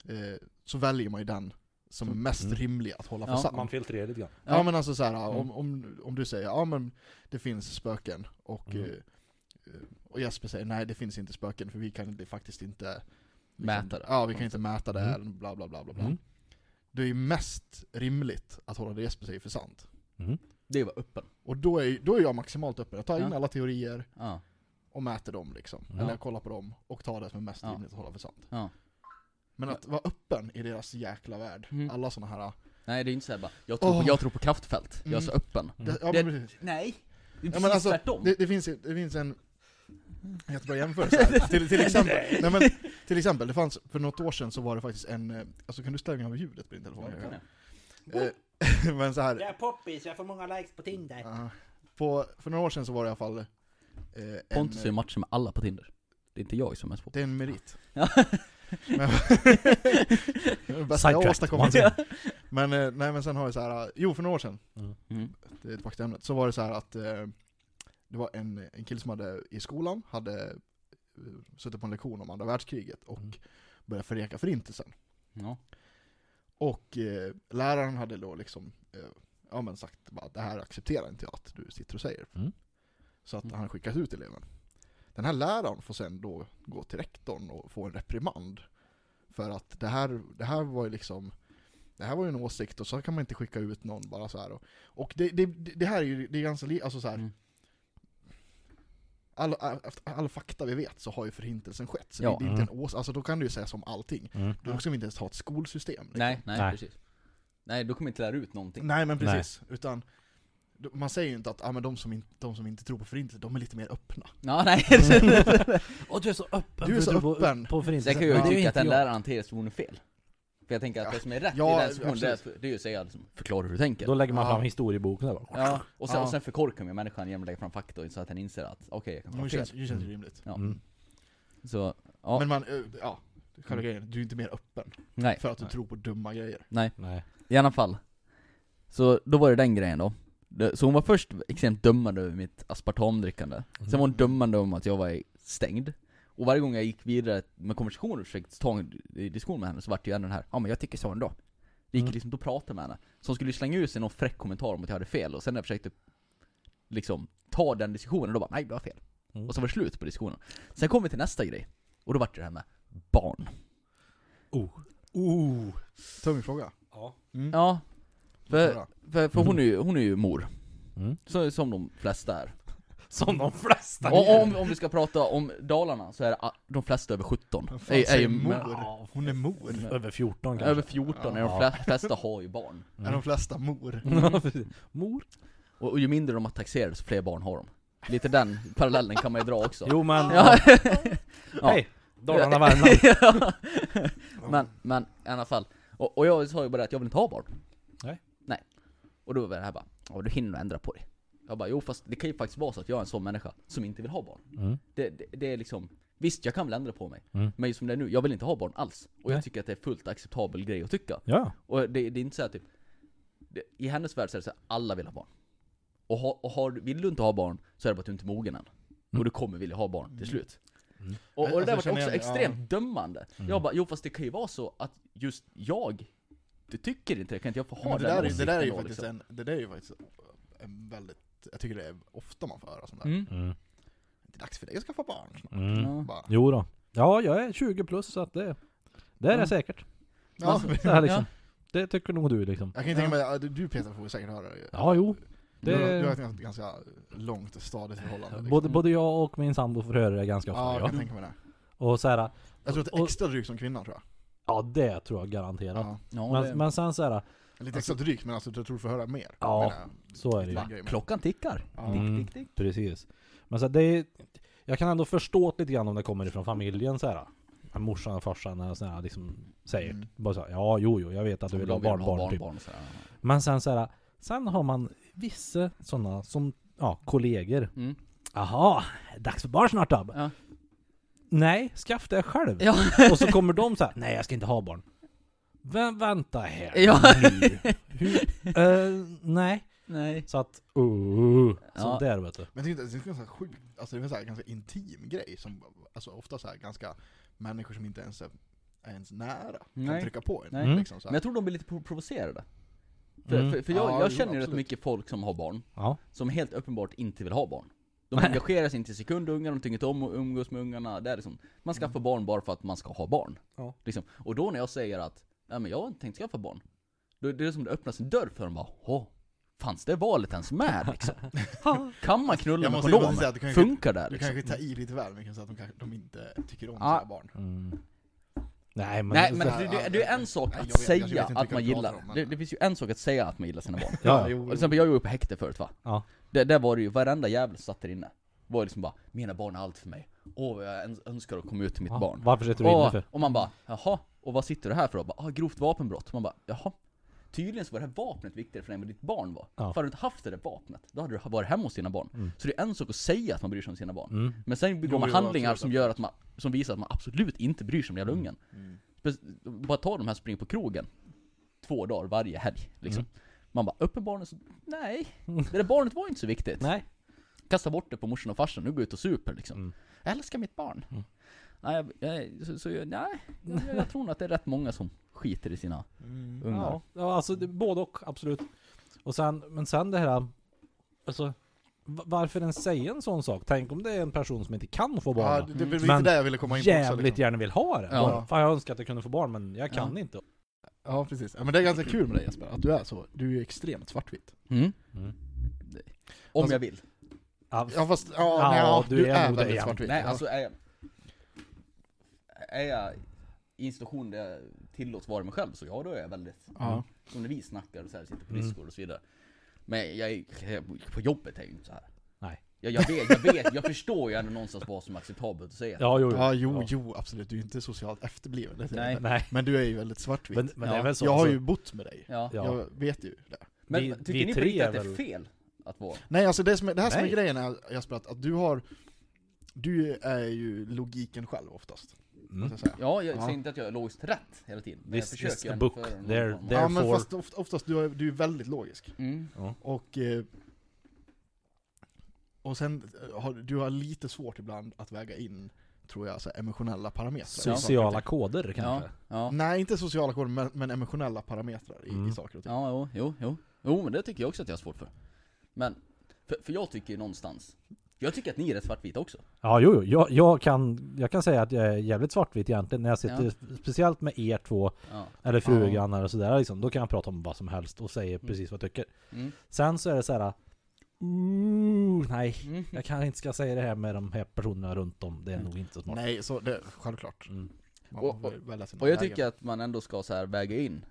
Speaker 1: eh, så väljer man ju den som är mest
Speaker 3: Mm.
Speaker 1: rimlig att hålla för
Speaker 2: Ja,
Speaker 1: sann.
Speaker 3: Man filtrerar lite grann.
Speaker 1: Ja
Speaker 2: Ja.
Speaker 1: men alltså så här,
Speaker 2: Mm.
Speaker 1: om, om, om du säger ja men det finns spöken och,
Speaker 3: Mm.
Speaker 1: eh, och Jesper säger nej det finns inte spöken för vi kan inte- faktiskt inte vi
Speaker 2: Mäta
Speaker 1: kan,
Speaker 2: det.
Speaker 1: Ja vi kan inte mäta det,
Speaker 3: Mm.
Speaker 1: eller bla bla bla bla bla.
Speaker 3: Mm.
Speaker 1: Det är ju mest rimligt att hålla det Jesper säger för sant.
Speaker 2: Det var öppen.
Speaker 1: Och då är, då är jag maximalt öppen, jag tar in
Speaker 2: Ja.
Speaker 1: alla teorier
Speaker 2: Ja.
Speaker 1: och mäter dem liksom.
Speaker 3: Ja.
Speaker 1: Eller jag kollar på dem och tar det som är mest
Speaker 2: Ja.
Speaker 1: rimligt att hålla för sant.
Speaker 2: Ja.
Speaker 1: Men att vara öppen i deras jäkla värld,
Speaker 2: Mm.
Speaker 1: alla sådana här...
Speaker 2: Nej det är inte såhär bara, jag tror, på,
Speaker 1: Åh.
Speaker 2: jag tror på kraftfält. Jag är
Speaker 1: Mm.
Speaker 2: så öppen.
Speaker 1: Det, ja,
Speaker 2: Det-
Speaker 1: men precis.
Speaker 2: Nej! Det är
Speaker 1: Ja,
Speaker 2: precis
Speaker 1: men alltså,
Speaker 2: tvärtom.
Speaker 1: det, det, finns, ju- det finns en jättebra jämförelse här. till, till, exempel, nej, men, till exempel, det fanns för något år sedan så var det faktiskt en, eh, alltså kan du stänga av ljudet på din
Speaker 2: Ja,
Speaker 1: telefon?
Speaker 2: det kan jag.
Speaker 1: Eh, men så här,
Speaker 4: Jag är poppis, jag får många likes på Tinder.
Speaker 1: ja. på, för några år sedan så var det i alla fall eh, en,
Speaker 2: Pontus är ju matchen med alla på Tinder. Det är inte jag som är på.
Speaker 1: det är en merit.
Speaker 2: Ja.
Speaker 1: Men, det är det bästa jag
Speaker 3: Sidetracked,
Speaker 1: åstadkommit.
Speaker 3: once again.
Speaker 1: Men, eh, nej, men sen har vi så här, eh, jo för några år sedan,
Speaker 2: Mm.
Speaker 1: det är tillbaka till ämnet, så var det så här att eh, det var en, en kille som hade i skolan, hade eh, suttit på en lektion om andra världskriget och
Speaker 3: Mm.
Speaker 1: börjat förneka förintelsen.
Speaker 2: Ja.
Speaker 1: Och eh, läraren hade då liksom, eh, ja men sagt bara, det här accepterar inte jag att du sitter och säger.
Speaker 3: Mm.
Speaker 1: Så att
Speaker 2: Mm.
Speaker 1: han skickas ut eleven. Den här läraren får sen då gå till rektorn och få en reprimand. För att det här, det här var ju liksom, det här var ju en åsikt och så kan man inte skicka ut någon bara så här. Och, och det, det, det det här är ju, det är ganska, li- alltså så här.
Speaker 2: Mm.
Speaker 1: All, all, efter all fakta vi vet så har ju förintelsen skett, så
Speaker 2: Ja. Mm.
Speaker 1: det, det är inte en ås alltså då kan du ju säga som allting.
Speaker 3: Mm.
Speaker 1: Då ska vi inte ens ha ett skolsystem. liksom.
Speaker 2: Nej, nej,
Speaker 3: Nej.
Speaker 2: precis. Nej, du kommer inte lära ut någonting.
Speaker 1: Nej men precis, utan man säger ju inte att ah, men de, som inte, de som inte tror på förintelsen, de är lite mer öppna.
Speaker 2: Ja, nej.
Speaker 3: Och du är så öppen!
Speaker 1: Du är
Speaker 3: för
Speaker 1: så
Speaker 3: på-
Speaker 1: öppen.
Speaker 3: På
Speaker 2: Sen
Speaker 3: förintelsen.
Speaker 2: kan jag
Speaker 3: Ja.
Speaker 2: ju
Speaker 3: Det är
Speaker 2: tycka att
Speaker 3: inte
Speaker 2: den
Speaker 3: jag.
Speaker 2: där anteringsversionen är fel. För jag tänker att det som är rätt
Speaker 1: Ja,
Speaker 2: i den situationen, det är- det är ju att säga liksom, förklara hur du tänker.
Speaker 3: Då lägger man
Speaker 1: Ja.
Speaker 3: fram historieboken där bara.
Speaker 2: Ja, och sen,
Speaker 1: Ja.
Speaker 2: och sen förkorkar man ju människan genom att lägga fram fakta så att den inser att okej, jag kan
Speaker 1: Det
Speaker 2: ha fel.
Speaker 1: känns, det känns ju rimligt.
Speaker 2: Ja.
Speaker 3: Mm.
Speaker 2: Så, ja,
Speaker 1: Men man, eh, ja, själva grejen, du är inte mer öppen
Speaker 2: nej,
Speaker 1: för att du
Speaker 3: Nej.
Speaker 1: tror på dumma grejer.
Speaker 3: Nej.
Speaker 2: i alla fall. Så då var det den grejen då. Det- Så hon var först extremt dömande över mitt aspartamdrickande. Sen var hon dömande om att jag var stängd. Och varje gång jag gick vidare med konversationer och försökte ta en diskussion med henne så vart det ju ändå den här, ja men jag tycker så ändå. Det gick
Speaker 3: Mm.
Speaker 2: liksom inte att prata med henne. Så hon skulle ju slänga ut sig någon fräck kommentar om att jag hade fel och sen när jag försökte liksom ta den diskussionen, då bara nej det var fel.
Speaker 3: Mm.
Speaker 2: Och så var det slut på diskussionen. Sen kom vi till nästa grej. Och då vart det det här med barn.
Speaker 1: Oh. Tung fråga.
Speaker 3: Ja.
Speaker 1: Mm.
Speaker 2: Ja. För,
Speaker 1: Höra.
Speaker 2: för, för hon, är ju, hon är ju mor.
Speaker 3: Mm.
Speaker 2: Så, som de flesta är.
Speaker 3: Som de flesta
Speaker 2: Och om, om vi ska prata om Dalarna så är det, ah, de flesta över 17.
Speaker 1: Vad fan
Speaker 2: Är, är ju,
Speaker 1: säger mor?
Speaker 2: men,
Speaker 3: Ja,
Speaker 1: Hon är mor.
Speaker 2: Mm.
Speaker 3: Över 14 kanske. Mm.
Speaker 2: över 14 är de
Speaker 3: Ja.
Speaker 2: flesta, flesta har ju barn.
Speaker 1: Är de flesta
Speaker 2: Mm.
Speaker 1: mor?
Speaker 3: Ja, precis. Mor.
Speaker 2: Och, och ju mindre de har taxerade så fler barn har de. Lite den parallellen kan man ju dra också.
Speaker 3: Jo men...
Speaker 2: Ja. Ja.
Speaker 3: Hej! Dalarna, Värmland.
Speaker 2: Ja. men, men i alla fall. Och, och jag sa ju bara det att jag vill inte ha barn.
Speaker 3: Nej.
Speaker 2: Nej. Och då var det här bara, ja du hinner nog ändra på det. Jag bara, jo fast det kan ju faktiskt vara så att jag är en sån människa som inte vill ha barn.
Speaker 3: Mm.
Speaker 2: Det, det, det är liksom, visst jag kan väl ändra på mig.
Speaker 3: Mm.
Speaker 2: Men som det är nu, jag vill inte ha barn alls. Och
Speaker 3: Nej.
Speaker 2: jag tycker att det är fullt acceptabel grej att tycka.
Speaker 3: Ja.
Speaker 2: Och det, det är inte så här typ, det, i hennes värld så är det så här, alla vill ha barn. Och, ha, och har, du- vill du inte ha barn så är det bara att du inte är mogen än. Och du kommer vilja ha barn till slut.
Speaker 3: Mm.
Speaker 2: Och, och det
Speaker 1: Alltså,
Speaker 2: där
Speaker 1: jag
Speaker 2: var också
Speaker 1: känner igen det,
Speaker 2: extremt dömande.
Speaker 3: Mm.
Speaker 2: Jag bara, jo fast det kan ju vara så att just jag, du tycker inte det, kan inte jag få ha
Speaker 1: Men det, där är, det
Speaker 2: den åsikten
Speaker 1: där är ju
Speaker 2: då,
Speaker 1: faktiskt
Speaker 2: liksom?
Speaker 1: en, det där är ju faktiskt en väldigt, jag tycker det är ofta man får höra sånt där.
Speaker 2: Mm.
Speaker 3: Mm.
Speaker 1: Det är dags för dig att skaffa barn snart.
Speaker 3: Mm.
Speaker 2: Ja.
Speaker 1: Bara,
Speaker 3: Jo då. Ja, jag är 20 plus så att det... Det är
Speaker 2: Ja. Alltså-
Speaker 3: jag säkert.
Speaker 1: ja,
Speaker 2: Man-
Speaker 3: Så här, liksom. Det tycker nog du liksom.
Speaker 1: jag kan ju tänka mig, att du Peter får säkert höra det.
Speaker 3: Ja, jo.
Speaker 1: Du, har- du har
Speaker 3: Det...
Speaker 1: ett ganska- ganska långt och stadigt förhållande. Liksom.
Speaker 3: Både, både jag och min sambo får höra det ganska ofta.
Speaker 1: ja, jag
Speaker 3: Ja.
Speaker 1: kan tänka mig det.
Speaker 3: Och så här,
Speaker 1: Jag tror att det är extra drygt som kvinna tror jag.
Speaker 3: ja det tror jag garanterat.
Speaker 1: Ja.
Speaker 2: Ja, det,
Speaker 3: Men, men sen så här,
Speaker 1: Lite extra drygt men alltså, jag tror du får höra mer.
Speaker 3: Ja.
Speaker 1: menar jag.
Speaker 3: så är det ju.
Speaker 1: Lite grejer, men-
Speaker 2: klockan tickar.
Speaker 1: Ja.
Speaker 3: Mm.
Speaker 2: Tick, tick, tick.
Speaker 3: Precis. Men så här, det är, jag kan ändå förstå det lite grann om det kommer ifrån familjen så här. När Morsan och farsan eller sådär liksom säger
Speaker 1: Mm.
Speaker 3: bara så här, ja jo jo jag vet att du vill ha barn, barn, typ.
Speaker 2: barn, och sådär.
Speaker 3: Men sen så här, sen har man vissa sådana som, ja kollegor.
Speaker 2: Mm.
Speaker 3: Jaha, dags för barn snart då?
Speaker 2: Ja.
Speaker 3: Nej, skaffa det själv.
Speaker 2: Ja.
Speaker 3: Och så kommer de så här, nej jag ska inte ha barn. Vä- vänta här
Speaker 2: Ja.
Speaker 3: nu. Hur, eh, nej.
Speaker 2: Nej.
Speaker 3: Så att, uh,
Speaker 2: Ja.
Speaker 3: sånt där vet du.
Speaker 1: Men jag tycker det är en ganska sjuk, alltså det är en så här ganska intim grej som, alltså ofta så här ganska, människor som inte ens är, är ens nära kan
Speaker 2: Nej.
Speaker 1: trycka på en.
Speaker 2: Nej.
Speaker 1: Liksom, så
Speaker 2: Men
Speaker 1: här.
Speaker 2: jag tror de blir lite pro- provocerade. För,
Speaker 3: Mm.
Speaker 2: för, för jag,
Speaker 1: Ja,
Speaker 2: jag
Speaker 1: jo,
Speaker 2: känner ju rätt
Speaker 1: absolut.
Speaker 2: mycket folk som har barn,
Speaker 3: Ja.
Speaker 2: som helt uppenbart inte vill ha barn. De engagerar sig inte i sekundungarna, de tycker inte om att umgås med ungarna. Det är liksom, man skaffar barn bara för att man ska ha barn.
Speaker 3: Ja.
Speaker 2: Liksom. Och då när jag säger att Nej, men jag har inte tänkt skaffa barn. Då, det är som det öppnas en dörr för dem bara, Åh, fanns det valet ens med liksom? kan man knulla
Speaker 1: Jag måste-
Speaker 2: med
Speaker 1: jag måste
Speaker 2: kondomer?
Speaker 1: säga att du kanske-
Speaker 2: Funkar det?
Speaker 1: Du
Speaker 2: Liksom?
Speaker 1: kanske tar i lite väl mycket så att de, kanske, de inte tycker om
Speaker 2: Ja.
Speaker 1: sina barn.
Speaker 3: Mm. Nej men...
Speaker 2: Nej men
Speaker 1: så-
Speaker 2: det, det, det är en sak
Speaker 1: Nej, jag
Speaker 2: att
Speaker 1: vet- jag vet
Speaker 2: säga
Speaker 1: inte
Speaker 2: att
Speaker 1: vilka
Speaker 2: man
Speaker 1: du
Speaker 2: gillar,
Speaker 1: pratar om, men-
Speaker 2: det, det finns ju en sak att säga att man gillar sina barn.
Speaker 3: Ja,
Speaker 1: jo,
Speaker 2: Och till exempel, jag var ju på häkte förut va?
Speaker 3: Ja.
Speaker 2: Där, där var det ju, varenda jävel som satt där inne. Var ju liksom bara, mina barn är allt för mig. Åh vad jag öns- önskar att komma ut till mitt
Speaker 3: Ja,
Speaker 2: barn.
Speaker 3: Varför sitter du inne
Speaker 2: Och,
Speaker 3: för?
Speaker 2: och man bara, jaha, och vad sitter du här för då? Bara, ah, grovt vapenbrott. Man bara, jaha. Tydligen så var det här vapnet viktigare för dig än vad ditt barn var.
Speaker 3: Ja.
Speaker 2: För hade du inte haft det där vapnet, då hade du varit hemma hos dina barn. Så det är en sak att säga att man bryr sig om sina barn.
Speaker 3: Mm.
Speaker 2: Men sen begår
Speaker 1: Jo,
Speaker 2: man
Speaker 1: jo,
Speaker 2: handlingar
Speaker 1: absolut,
Speaker 2: som gör att man, som visar att man absolut inte bryr sig om den jävla ungen. Spe- Bara ta de här spring på krogen. Två dagar varje helg liksom. Man bara, uppenbarligen så, nej. Det där barnet var inte så viktigt.
Speaker 3: Nej.
Speaker 2: Kasta bort det på morsan och farsan, nu går jag ut och super liksom.
Speaker 3: Mm.
Speaker 2: Jag älskar mitt barn. Nej, jag, jag, så, så, jag- nej jag, jag, jag tror nog att det är rätt många som skiter i sina ungar.
Speaker 3: Ja, ja alltså det, både och, absolut. Och sen, men sen det här... Alltså, va- varför ens säga en sån sak? Tänk om det är en person som inte kan få
Speaker 1: Ja,
Speaker 3: barn.
Speaker 1: det det var lite
Speaker 3: Men
Speaker 1: där jag ville komma in på också,
Speaker 3: jävligt
Speaker 1: liksom.
Speaker 3: gärna vill ha det.
Speaker 2: Ja.
Speaker 3: Bara, Fan jag önskar att jag kunde få barn men jag kan inte.
Speaker 1: Ja precis. Ja, men det är ganska kul med dig Jesper, att du är så. Du är ju extremt svartvit.
Speaker 2: Mm.
Speaker 3: Mm.
Speaker 2: Om
Speaker 1: Alltså-
Speaker 2: jag vill.
Speaker 3: Ja,
Speaker 1: Ja fast, ja,
Speaker 3: Ja,
Speaker 1: nej, ja
Speaker 3: du
Speaker 1: du,
Speaker 3: är
Speaker 1: är,
Speaker 3: nog det
Speaker 1: väldigt
Speaker 3: igen.
Speaker 1: svartvit. Alltså,
Speaker 2: Nej,
Speaker 1: Ja.
Speaker 2: alltså är jag, är jag i en situation där jag tillåts vara mig själv så ja, då är jag väldigt
Speaker 1: Ja.
Speaker 2: Som när vi snackar och så här, sitter
Speaker 3: Mm.
Speaker 2: på Discord och så vidare Men jag, är- på jobbet är jag ju inte så här.
Speaker 3: Nej.
Speaker 2: Jag, jag vet, jag vet, jag förstår ju ändå någonstans vad som är acceptabelt att säga
Speaker 3: Ja, jo, jo.
Speaker 1: Ja, jo, jo, absolut. Du är inte socialt efterbliven. det är
Speaker 2: Nej.
Speaker 1: det.
Speaker 3: Nej.
Speaker 1: Men du är ju väldigt svartvit.
Speaker 3: Men, men det
Speaker 2: Ja,
Speaker 3: är väl så.
Speaker 1: jag har
Speaker 3: alltså,
Speaker 1: ju bott med dig.
Speaker 2: Ja.
Speaker 3: Ja.
Speaker 1: Jag vet ju det.
Speaker 2: Men
Speaker 3: Vi-
Speaker 2: tycker
Speaker 3: vi
Speaker 2: ni på
Speaker 3: tre
Speaker 2: riktigt
Speaker 3: är
Speaker 2: att det är
Speaker 3: väl-
Speaker 2: fel att vara?
Speaker 1: Nej, alltså det, som är, det här som är
Speaker 3: Nej.
Speaker 1: grejen är, Jesper, att, att du har... Du är ju logiken själv oftast.
Speaker 3: Mm.
Speaker 1: måste jag säga.
Speaker 2: Ja, jag
Speaker 1: Ja.
Speaker 2: säger inte att jag är logiskt rätt hela tiden Men jag
Speaker 3: This
Speaker 2: försöker
Speaker 3: is the
Speaker 2: ändå
Speaker 3: book.
Speaker 2: föra någon
Speaker 3: There-
Speaker 2: form av-
Speaker 3: there-
Speaker 1: Ja, men
Speaker 3: Therefore-
Speaker 1: fast oft, oftast, du är, du är väldigt logisk.
Speaker 2: Mm.
Speaker 1: Och... Eh, och sen eh, har du har lite svårt ibland att väga in, tror jag, så här, emotionella parametrar.
Speaker 3: Sociala koder
Speaker 2: Alltså, Ja,
Speaker 3: kanske?
Speaker 2: ja,
Speaker 1: Nej, inte sociala koder, men, men emotionella parametrar i, i
Speaker 3: Mm.
Speaker 1: saker och ting.
Speaker 2: ja, jo, jo, jo Jo, men det tycker jag också att jag har svårt för Men, för, för jag tycker ju någonstans Jag tycker att ni är rätt svartvita också
Speaker 3: Ja, jo, jo. Jag, jag, kan, jag kan säga att jag är jävligt svartvit egentligen när jag sitter,
Speaker 2: Ja.
Speaker 3: sp- speciellt med er två,
Speaker 2: Ja,
Speaker 3: eller fru
Speaker 1: Ja.
Speaker 3: och grannar och sådär liksom, då kan jag prata om vad som helst och säga precis vad jag tycker.
Speaker 2: mm.
Speaker 3: Sen så är det så här. Ooh, nej,
Speaker 2: Mm.
Speaker 3: jag kanske inte ska säga det här med de här personerna runt om. Det är
Speaker 2: Mm.
Speaker 3: nog inte så smart.
Speaker 1: Nej, så det, självklart.
Speaker 3: Mm.
Speaker 1: Man
Speaker 2: Och-
Speaker 1: får välja sina
Speaker 2: Och jag
Speaker 1: vägar.
Speaker 2: tycker att man ändå ska så här väga in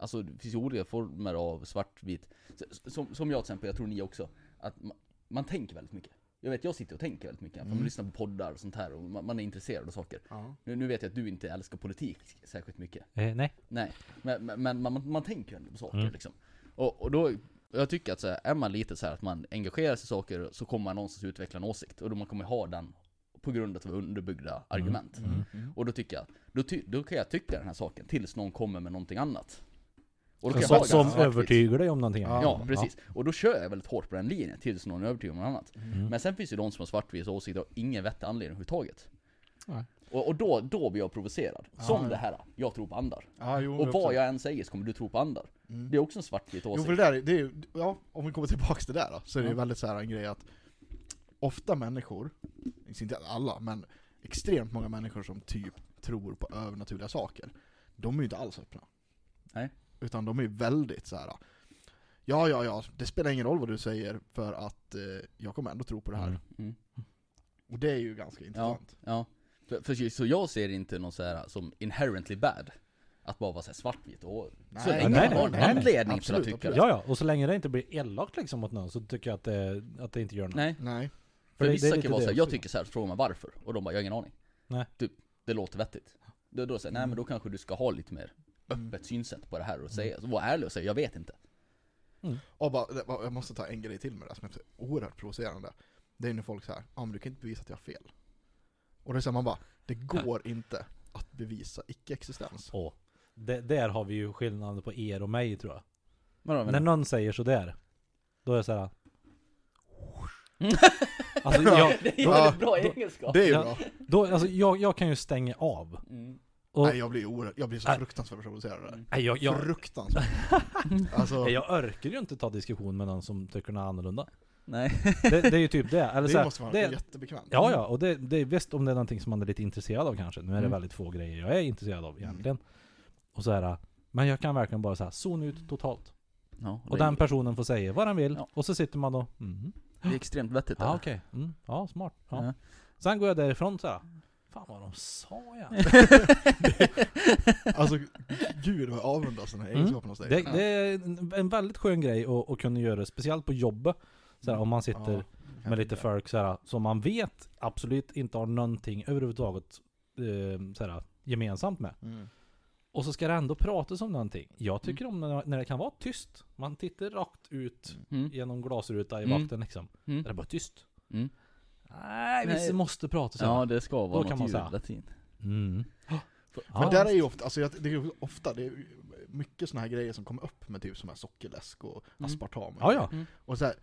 Speaker 2: Alltså det finns ju olika former av svartvit S- Som, som jag till exempel, jag tror ni också Att ma- man tänker väldigt mycket Jag vet, jag sitter och tänker väldigt mycket, för man
Speaker 1: Mm.
Speaker 2: lyssnar på poddar och sånt här och man, man är intresserad av saker
Speaker 1: Ja.
Speaker 2: nu, nu vet jag att du inte älskar politik särskilt mycket
Speaker 3: Eh, nej.
Speaker 2: Nej, men, men men man, man tänker ju ändå på saker
Speaker 3: Mm.
Speaker 2: liksom. Och, och då, jag tycker att så här, är man lite så här att man engagerar sig i saker så kommer man någonstans utveckla en åsikt. Och då man kommer ha den på grund av underbyggda argument.
Speaker 1: Mm.
Speaker 3: Mm.
Speaker 2: Och då tycker jag, då, ty, då kan jag tycka den här saken tills någon kommer med någonting annat. Och
Speaker 1: Så-
Speaker 2: jag
Speaker 3: Som,
Speaker 2: vara
Speaker 3: som
Speaker 2: ganska svartvit.
Speaker 3: övertygar dig om någonting.
Speaker 1: Ja,
Speaker 2: Ja, precis. Och då kör jag väldigt hårt på den linjen tills någon övertygar mig om annat.
Speaker 3: Mm.
Speaker 2: Men sen finns det ju de som har svartvita åsikter och ingen vettig anledning överhuvudtaget.
Speaker 1: Nej.
Speaker 2: Och, och då, då blir jag provocerad. Som
Speaker 1: ja.
Speaker 2: det här, jag tror på andar.
Speaker 1: Ja, jo,
Speaker 2: Och vad
Speaker 1: absolut.
Speaker 2: jag än säger så kommer du tro på andar.
Speaker 1: Mm.
Speaker 2: Det är också en svartvit
Speaker 1: Jo
Speaker 2: åsikt.
Speaker 1: för det där, är- det är, ju- ja, om vi kommer tillbaka till det där då, så är det ju
Speaker 2: Ja.
Speaker 1: väldigt så här en grej att ofta människor, inte alla, men extremt många människor som typ tror på övernaturliga saker, de är ju inte alls öppna.
Speaker 2: Nej.
Speaker 1: Utan de är ju väldigt så här. ja ja ja, det spelar ingen roll vad du säger för att eh, jag kommer ändå tro på det här.
Speaker 3: Mm.
Speaker 2: Mm.
Speaker 1: Och det är ju ganska intressant.
Speaker 2: Ja. För, för, så jag ser inte någon så här som inherently bad. Att bara vara så här svartvit och... så
Speaker 1: Nej,
Speaker 2: länge
Speaker 3: nej,
Speaker 2: man har en
Speaker 3: nej, nej.
Speaker 2: anledning till att
Speaker 1: Absolut,
Speaker 2: tycka
Speaker 1: absolut.
Speaker 2: det.
Speaker 3: Ja, ja, och så länge det inte blir elakt liksom mot någon så tycker jag att det, att det inte gör något.
Speaker 2: Nej.
Speaker 1: Nej.
Speaker 3: det-
Speaker 2: För
Speaker 3: det är
Speaker 2: vissa
Speaker 3: lite
Speaker 2: kan vara
Speaker 3: det
Speaker 2: såhär, jag
Speaker 3: också.
Speaker 2: tycker såhär, frågar man varför? Och de bara, jag har ingen aning.
Speaker 3: Nej.
Speaker 2: Typ, det låter vettigt. Då, då säger jag, nej men då kanske du ska ha lite mer
Speaker 1: Mm.
Speaker 2: öppet synsätt på det här och säga, så
Speaker 3: Mm.
Speaker 2: var ärlig och säga, jag vet inte.
Speaker 1: Och bara, det- jag måste ta en grej till med det här som är så oerhört provocerande. Det är när folk säger ja men du kan inte bevisa att jag har fel. Och det är så här, man bara, det går inte att bevisa icke-existens.
Speaker 3: Åh. Det, där har vi ju skillnaden på er och mig tror jag.
Speaker 2: Vadå,
Speaker 3: När
Speaker 2: men,
Speaker 3: någon säger sådär, då är jag såhär... Alltså, jag,
Speaker 2: det
Speaker 1: Ja,
Speaker 2: är väldigt bra
Speaker 3: då-
Speaker 2: egenskap.
Speaker 1: Det är ju
Speaker 3: Ja.
Speaker 1: bra.
Speaker 3: då, alltså, jag, jag kan ju stänga av.
Speaker 2: Mm.
Speaker 3: Och,
Speaker 1: Nej, jag blir oerhört, jag blir så
Speaker 3: Nej.
Speaker 1: fruktansvärt provocerad av det.
Speaker 3: nej, jag, jag,
Speaker 1: Fruktansvärt. Alltså,
Speaker 3: Nej, jag orkar ju inte ta diskussion med någon som tycker något annorlunda.
Speaker 2: Nej.
Speaker 3: Det, det är ju typ det. Eller så
Speaker 1: det
Speaker 3: här,
Speaker 1: måste vara
Speaker 3: det,
Speaker 1: jättebekvämt.
Speaker 3: Ja, ja, och det, det är visst om det är någonting som man är lite intresserad av kanske. Nu är det
Speaker 2: Mm.
Speaker 3: väldigt få grejer jag är intresserad av egentligen. Och så här, men jag kan verkligen bara så här, zona ut totalt.
Speaker 2: Ja,
Speaker 3: Och den personen får säga vad den vill,
Speaker 2: Ja.
Speaker 3: och så sitter man då mm.
Speaker 2: Det är extremt vettigt.
Speaker 3: Ja,
Speaker 2: där.
Speaker 3: okej. Mm. Ja, smart. Ja.
Speaker 2: Ja.
Speaker 3: Sen går jag därifrån så här. Fan vad de sa ja.
Speaker 1: Alltså, gud vad jag avundas den här
Speaker 3: Mm.
Speaker 1: egenskapen hos dig.
Speaker 3: Det, det är en- en väldigt skön grej att, att kunna göra, speciellt på jobbet. Så här, om man sitter
Speaker 1: Ja, jag
Speaker 3: med lite
Speaker 1: vet.
Speaker 3: folk så här, som man vet absolut inte har någonting överhuvudtaget eh, så här, gemensamt med.
Speaker 1: Mm.
Speaker 3: Och så ska det ändå pratas om någonting. Jag tycker om när, när det kan vara tyst. Man tittar rakt ut
Speaker 2: Mm.
Speaker 3: genom glasruta i
Speaker 2: Mm.
Speaker 3: vakten liksom.
Speaker 2: Mm.
Speaker 3: Är det bara tyst?
Speaker 2: Mm.
Speaker 3: Nej, vi
Speaker 2: Nej.
Speaker 3: måste prata så. här.
Speaker 2: Ja, det ska vara
Speaker 3: kan
Speaker 2: något
Speaker 3: man
Speaker 2: ljud
Speaker 3: säga.
Speaker 2: hela tiden.
Speaker 3: Mm.
Speaker 1: Men
Speaker 3: Ja,
Speaker 1: där är ju ofta, alltså, jag- det är ju ofta, det är ju mycket såna här grejer som kommer upp med typ som här sockerläsk och
Speaker 2: Mm.
Speaker 1: aspartam. och
Speaker 3: Ja, ja.
Speaker 1: Och, så här,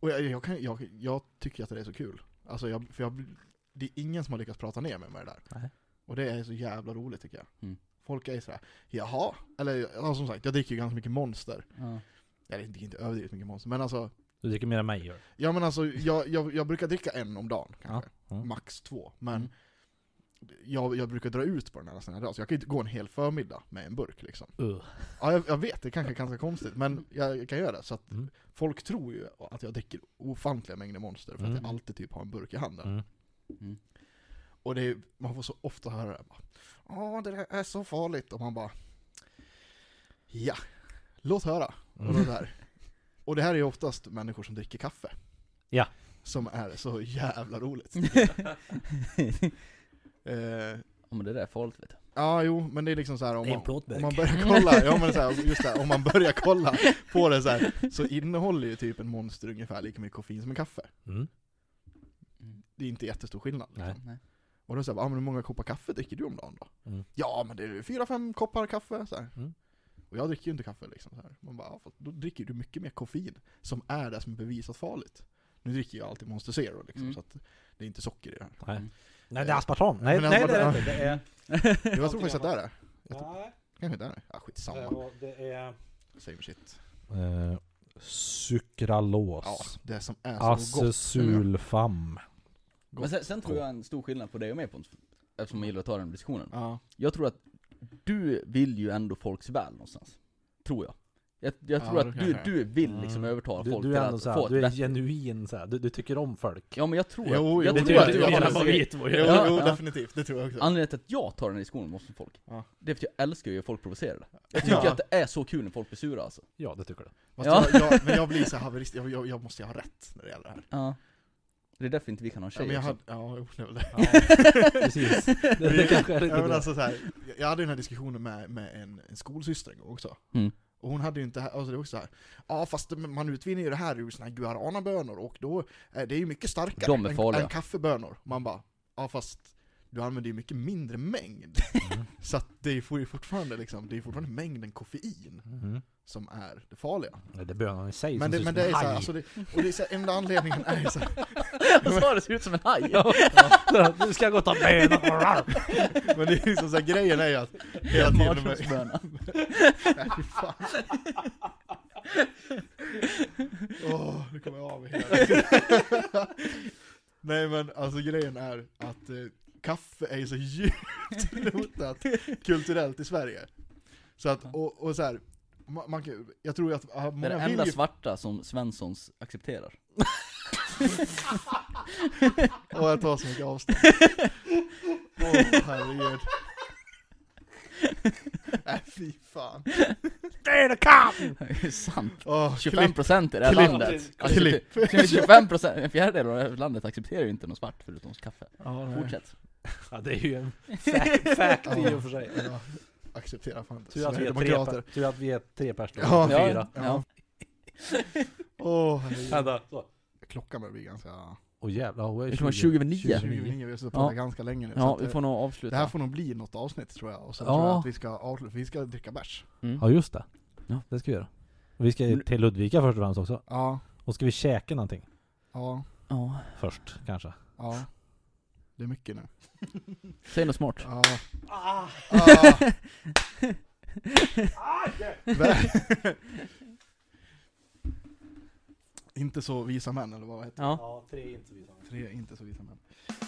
Speaker 1: och jag, jag, kan, jag, jag tycker att det är så kul. Alltså jag, för jag, blir- det är ingen som har lyckats prata ner mig med det där.
Speaker 3: Nej.
Speaker 1: Och det är så jävla roligt tycker jag.
Speaker 2: Mm.
Speaker 1: Folk är sådär, jaha? Eller ja, som sagt, jag dricker ju ganska mycket monster.
Speaker 2: Ja.
Speaker 1: Eller inte, inte överdrivet mycket monster, men alltså.
Speaker 3: Du dricker mer än mig gör.
Speaker 1: Ja men alltså, jag, jag, jag brukar dricka en om dagen kanske.
Speaker 3: Ja, Mm. ja.
Speaker 1: Max två. Men
Speaker 2: Mm.
Speaker 1: jag, jag brukar dra ut på den här nästan hela dagen, så jag kan ju inte gå en hel förmiddag med en burk liksom.
Speaker 3: Uh.
Speaker 1: Ja, jag, jag vet, det kanske är ganska konstigt, men jag kan göra det. Så att
Speaker 3: Mm.
Speaker 1: folk tror ju att jag dricker ofantliga mängder monster, för att
Speaker 3: Mm.
Speaker 1: jag alltid typ har en burk i handen.
Speaker 3: Mm.
Speaker 2: Mm.
Speaker 1: Och Och det är, man får så ofta höra det här. Ja, det där är så farligt. Och man bara... Ja, låt höra.
Speaker 3: Mm.
Speaker 1: Och, det där. och det här är ju oftast människor som dricker kaffe.
Speaker 3: Ja.
Speaker 1: Som är så jävla roligt. eh,
Speaker 2: Ja men det där är farligt vet du.
Speaker 1: ja, jo, men det är liksom så här om
Speaker 3: Det är en
Speaker 1: man,
Speaker 3: plåtburk.
Speaker 1: om man börjar kolla, ja men så här, alltså, just det, här, om man börjar kolla på det så här, så innehåller ju typ en monster ungefär lika mycket koffein som en kaffe.
Speaker 3: Mm.
Speaker 1: Det är inte jättestor skillnad. Liksom.
Speaker 3: Nej.
Speaker 2: Nej.
Speaker 1: Och då säger jag, ah, men hur många koppar kaffe dricker du om dagen då?
Speaker 3: Mm.
Speaker 1: Ja men det är fyra, fem koppar kaffe så här.
Speaker 3: Mm.
Speaker 1: Och jag dricker ju inte kaffe liksom så här. Man bara, ah, fast då dricker du mycket mer koffein som är det som är bevisat farligt. Nu dricker jag alltid Monster Zero liksom,
Speaker 2: Mm.
Speaker 1: så att det är inte socker i det här.
Speaker 3: Nej det är aspartam. Nej,
Speaker 1: Men
Speaker 3: nej det är det
Speaker 1: aspartam-
Speaker 3: inte. Det är...
Speaker 1: Jag tror faktiskt att det är det.
Speaker 4: Nej,
Speaker 1: Kanske inte är det. Ja,
Speaker 4: det
Speaker 1: skitsamma.
Speaker 4: var- det är...
Speaker 1: Same shit.
Speaker 3: Eh, sukralos. Alltså,
Speaker 1: Ja, det som är så gott.
Speaker 3: Acesulfam.
Speaker 2: Men sen, sen tror jag en stor skillnad på dig och mig Pontus, eftersom man gillar att ta den diskussionen.
Speaker 1: Ja.
Speaker 2: Jag tror att du vill ju ändå folks väl någonstans. Tror jag. Jag, jag
Speaker 1: Ja,
Speaker 2: tror
Speaker 1: det
Speaker 2: att du,
Speaker 1: kanske är.
Speaker 2: du vill liksom
Speaker 3: Mm.
Speaker 2: övertala
Speaker 3: Du,
Speaker 2: folk
Speaker 3: du
Speaker 2: till
Speaker 3: är ändå
Speaker 2: att få
Speaker 3: såhär,
Speaker 2: ett
Speaker 3: du är
Speaker 2: bättre-
Speaker 3: genuin såhär. Du, du tycker om folk.
Speaker 2: Ja men jag tror
Speaker 1: Jo,
Speaker 2: att,
Speaker 1: jo,
Speaker 2: jag
Speaker 1: det
Speaker 2: tror
Speaker 1: tror
Speaker 2: att
Speaker 1: jag- det
Speaker 2: du
Speaker 1: tror jag
Speaker 2: alla
Speaker 1: också.
Speaker 2: favorit
Speaker 1: Jo,
Speaker 2: var ju-
Speaker 1: jo,
Speaker 2: Ja, ja.
Speaker 1: definitivt. Det tror jag också.
Speaker 2: Anledningen till att jag tar den här diskussionen måste folk,
Speaker 1: Ja.
Speaker 2: det är för att jag älskar ju att folk provocerar det. Jag tycker
Speaker 1: Ja.
Speaker 2: att det är så kul när folk blir sura alltså.
Speaker 3: Ja det tycker du.
Speaker 1: Fast
Speaker 2: Ja.
Speaker 1: Jag, jag, men jag blir så här haverist, jag, jag, jag måste ju ha rätt när det gäller det här.
Speaker 2: Ja. Det är därför inte vi kan ha en
Speaker 1: Ja, men
Speaker 2: tjej
Speaker 1: jag hade, ja,
Speaker 2: också.
Speaker 1: jo, det är väl det.
Speaker 3: Precis. Det, det kanske är lite
Speaker 1: ja, men
Speaker 3: det.
Speaker 1: alltså, så här, jag- jag hade den här diskussionen med, med en, en skolsyster en gång också.
Speaker 2: Mm.
Speaker 1: Och hon hade ju inte, alltså det var också så här, ja fast man utvinner ju det här ur såna här guaranabönor och då, är det är ju mycket starkare
Speaker 2: De är
Speaker 1: än-
Speaker 2: farliga.
Speaker 1: än kaffebönor. Man bara, ja fast du använder ju mycket mindre mängd. så att det är ju fortfarande liksom, det är fortfarande mängden koffein
Speaker 3: Mhm.
Speaker 1: som är det farliga.
Speaker 3: Nej, Det är bönan i sig
Speaker 1: Men
Speaker 3: som
Speaker 1: det,
Speaker 3: ser
Speaker 1: men
Speaker 3: ut
Speaker 1: det är
Speaker 3: som en
Speaker 1: så här,
Speaker 3: haj.
Speaker 1: alltså det, och det är så här, enda anledningen är ju så här,
Speaker 2: Jag sa det ser ut som en haj!
Speaker 3: Nu ska jag gå och ta bönan.
Speaker 1: men det är liksom så här, grejen är ju att hela tiden med,
Speaker 2: Marshmallowsböna.
Speaker 1: Nej, fy fan. Åh, nu kommer jag av mig hela. Nej men alltså grejen är att eh, kaffe är ju så djupt rotat kulturellt i Sverige. Så att, och, och så här, man, man, kan- jag tror att ah,
Speaker 2: Det är det
Speaker 1: många vill
Speaker 2: enda
Speaker 1: ju...
Speaker 2: svarta som Svenssons accepterar.
Speaker 1: Åh jag tar så mycket avstånd. Åh herregud. Nej fy fan.
Speaker 3: Det är det kan!
Speaker 2: Det är ju sant.
Speaker 1: Åh,
Speaker 2: 25% procent i det här
Speaker 1: klipp,
Speaker 2: landet.
Speaker 1: klipp, klipp.
Speaker 2: Alltså, 25 procent, en fjärdedel av det här landet accepterar ju inte något svart förutom kaffe. Fortsätt.
Speaker 3: Ja det är ju en fa- fact i och för sig.
Speaker 1: Ja, acceptera fan inte.
Speaker 3: Tur att, vi är tre,
Speaker 1: Sverigedemokrater.
Speaker 3: per- tur att vi är tre pers då,
Speaker 1: Ja.
Speaker 3: inte fyra.
Speaker 2: Ja.
Speaker 1: Åh herregud.
Speaker 3: Vänta, så.
Speaker 1: Klockan börjar bli ganska...
Speaker 3: Åh jävlar, hon är
Speaker 2: Vi kan vara
Speaker 3: 20.
Speaker 2: 20 över 9.
Speaker 1: 29, vi har suttit och pratat ganska länge nu. så
Speaker 2: Ja,
Speaker 1: att,
Speaker 2: vi
Speaker 1: eh,
Speaker 2: får nog
Speaker 1: det här
Speaker 2: avsluta.
Speaker 1: får nog bli något avsnitt tror jag. Och sen
Speaker 3: Ja.
Speaker 1: tror jag att vi ska, avsluta- vi ska dricka bärs.
Speaker 2: Mm.
Speaker 3: Ja just det.
Speaker 2: Ja.
Speaker 3: Det ska vi göra. Och Vi ska ju till Ludvika först och främst också.
Speaker 1: Ja,
Speaker 3: Och ska vi käka någonting
Speaker 1: ja,
Speaker 2: Ja.
Speaker 3: först kanske?
Speaker 1: ja. Det är mycket nu.
Speaker 2: Säg något smart.
Speaker 1: Ja.
Speaker 4: Ah!
Speaker 1: Ah, vä- inte så visa män eller vad heter
Speaker 2: Ja.
Speaker 4: Ja, tre intervjuer.
Speaker 1: det? Tre inte så visa män.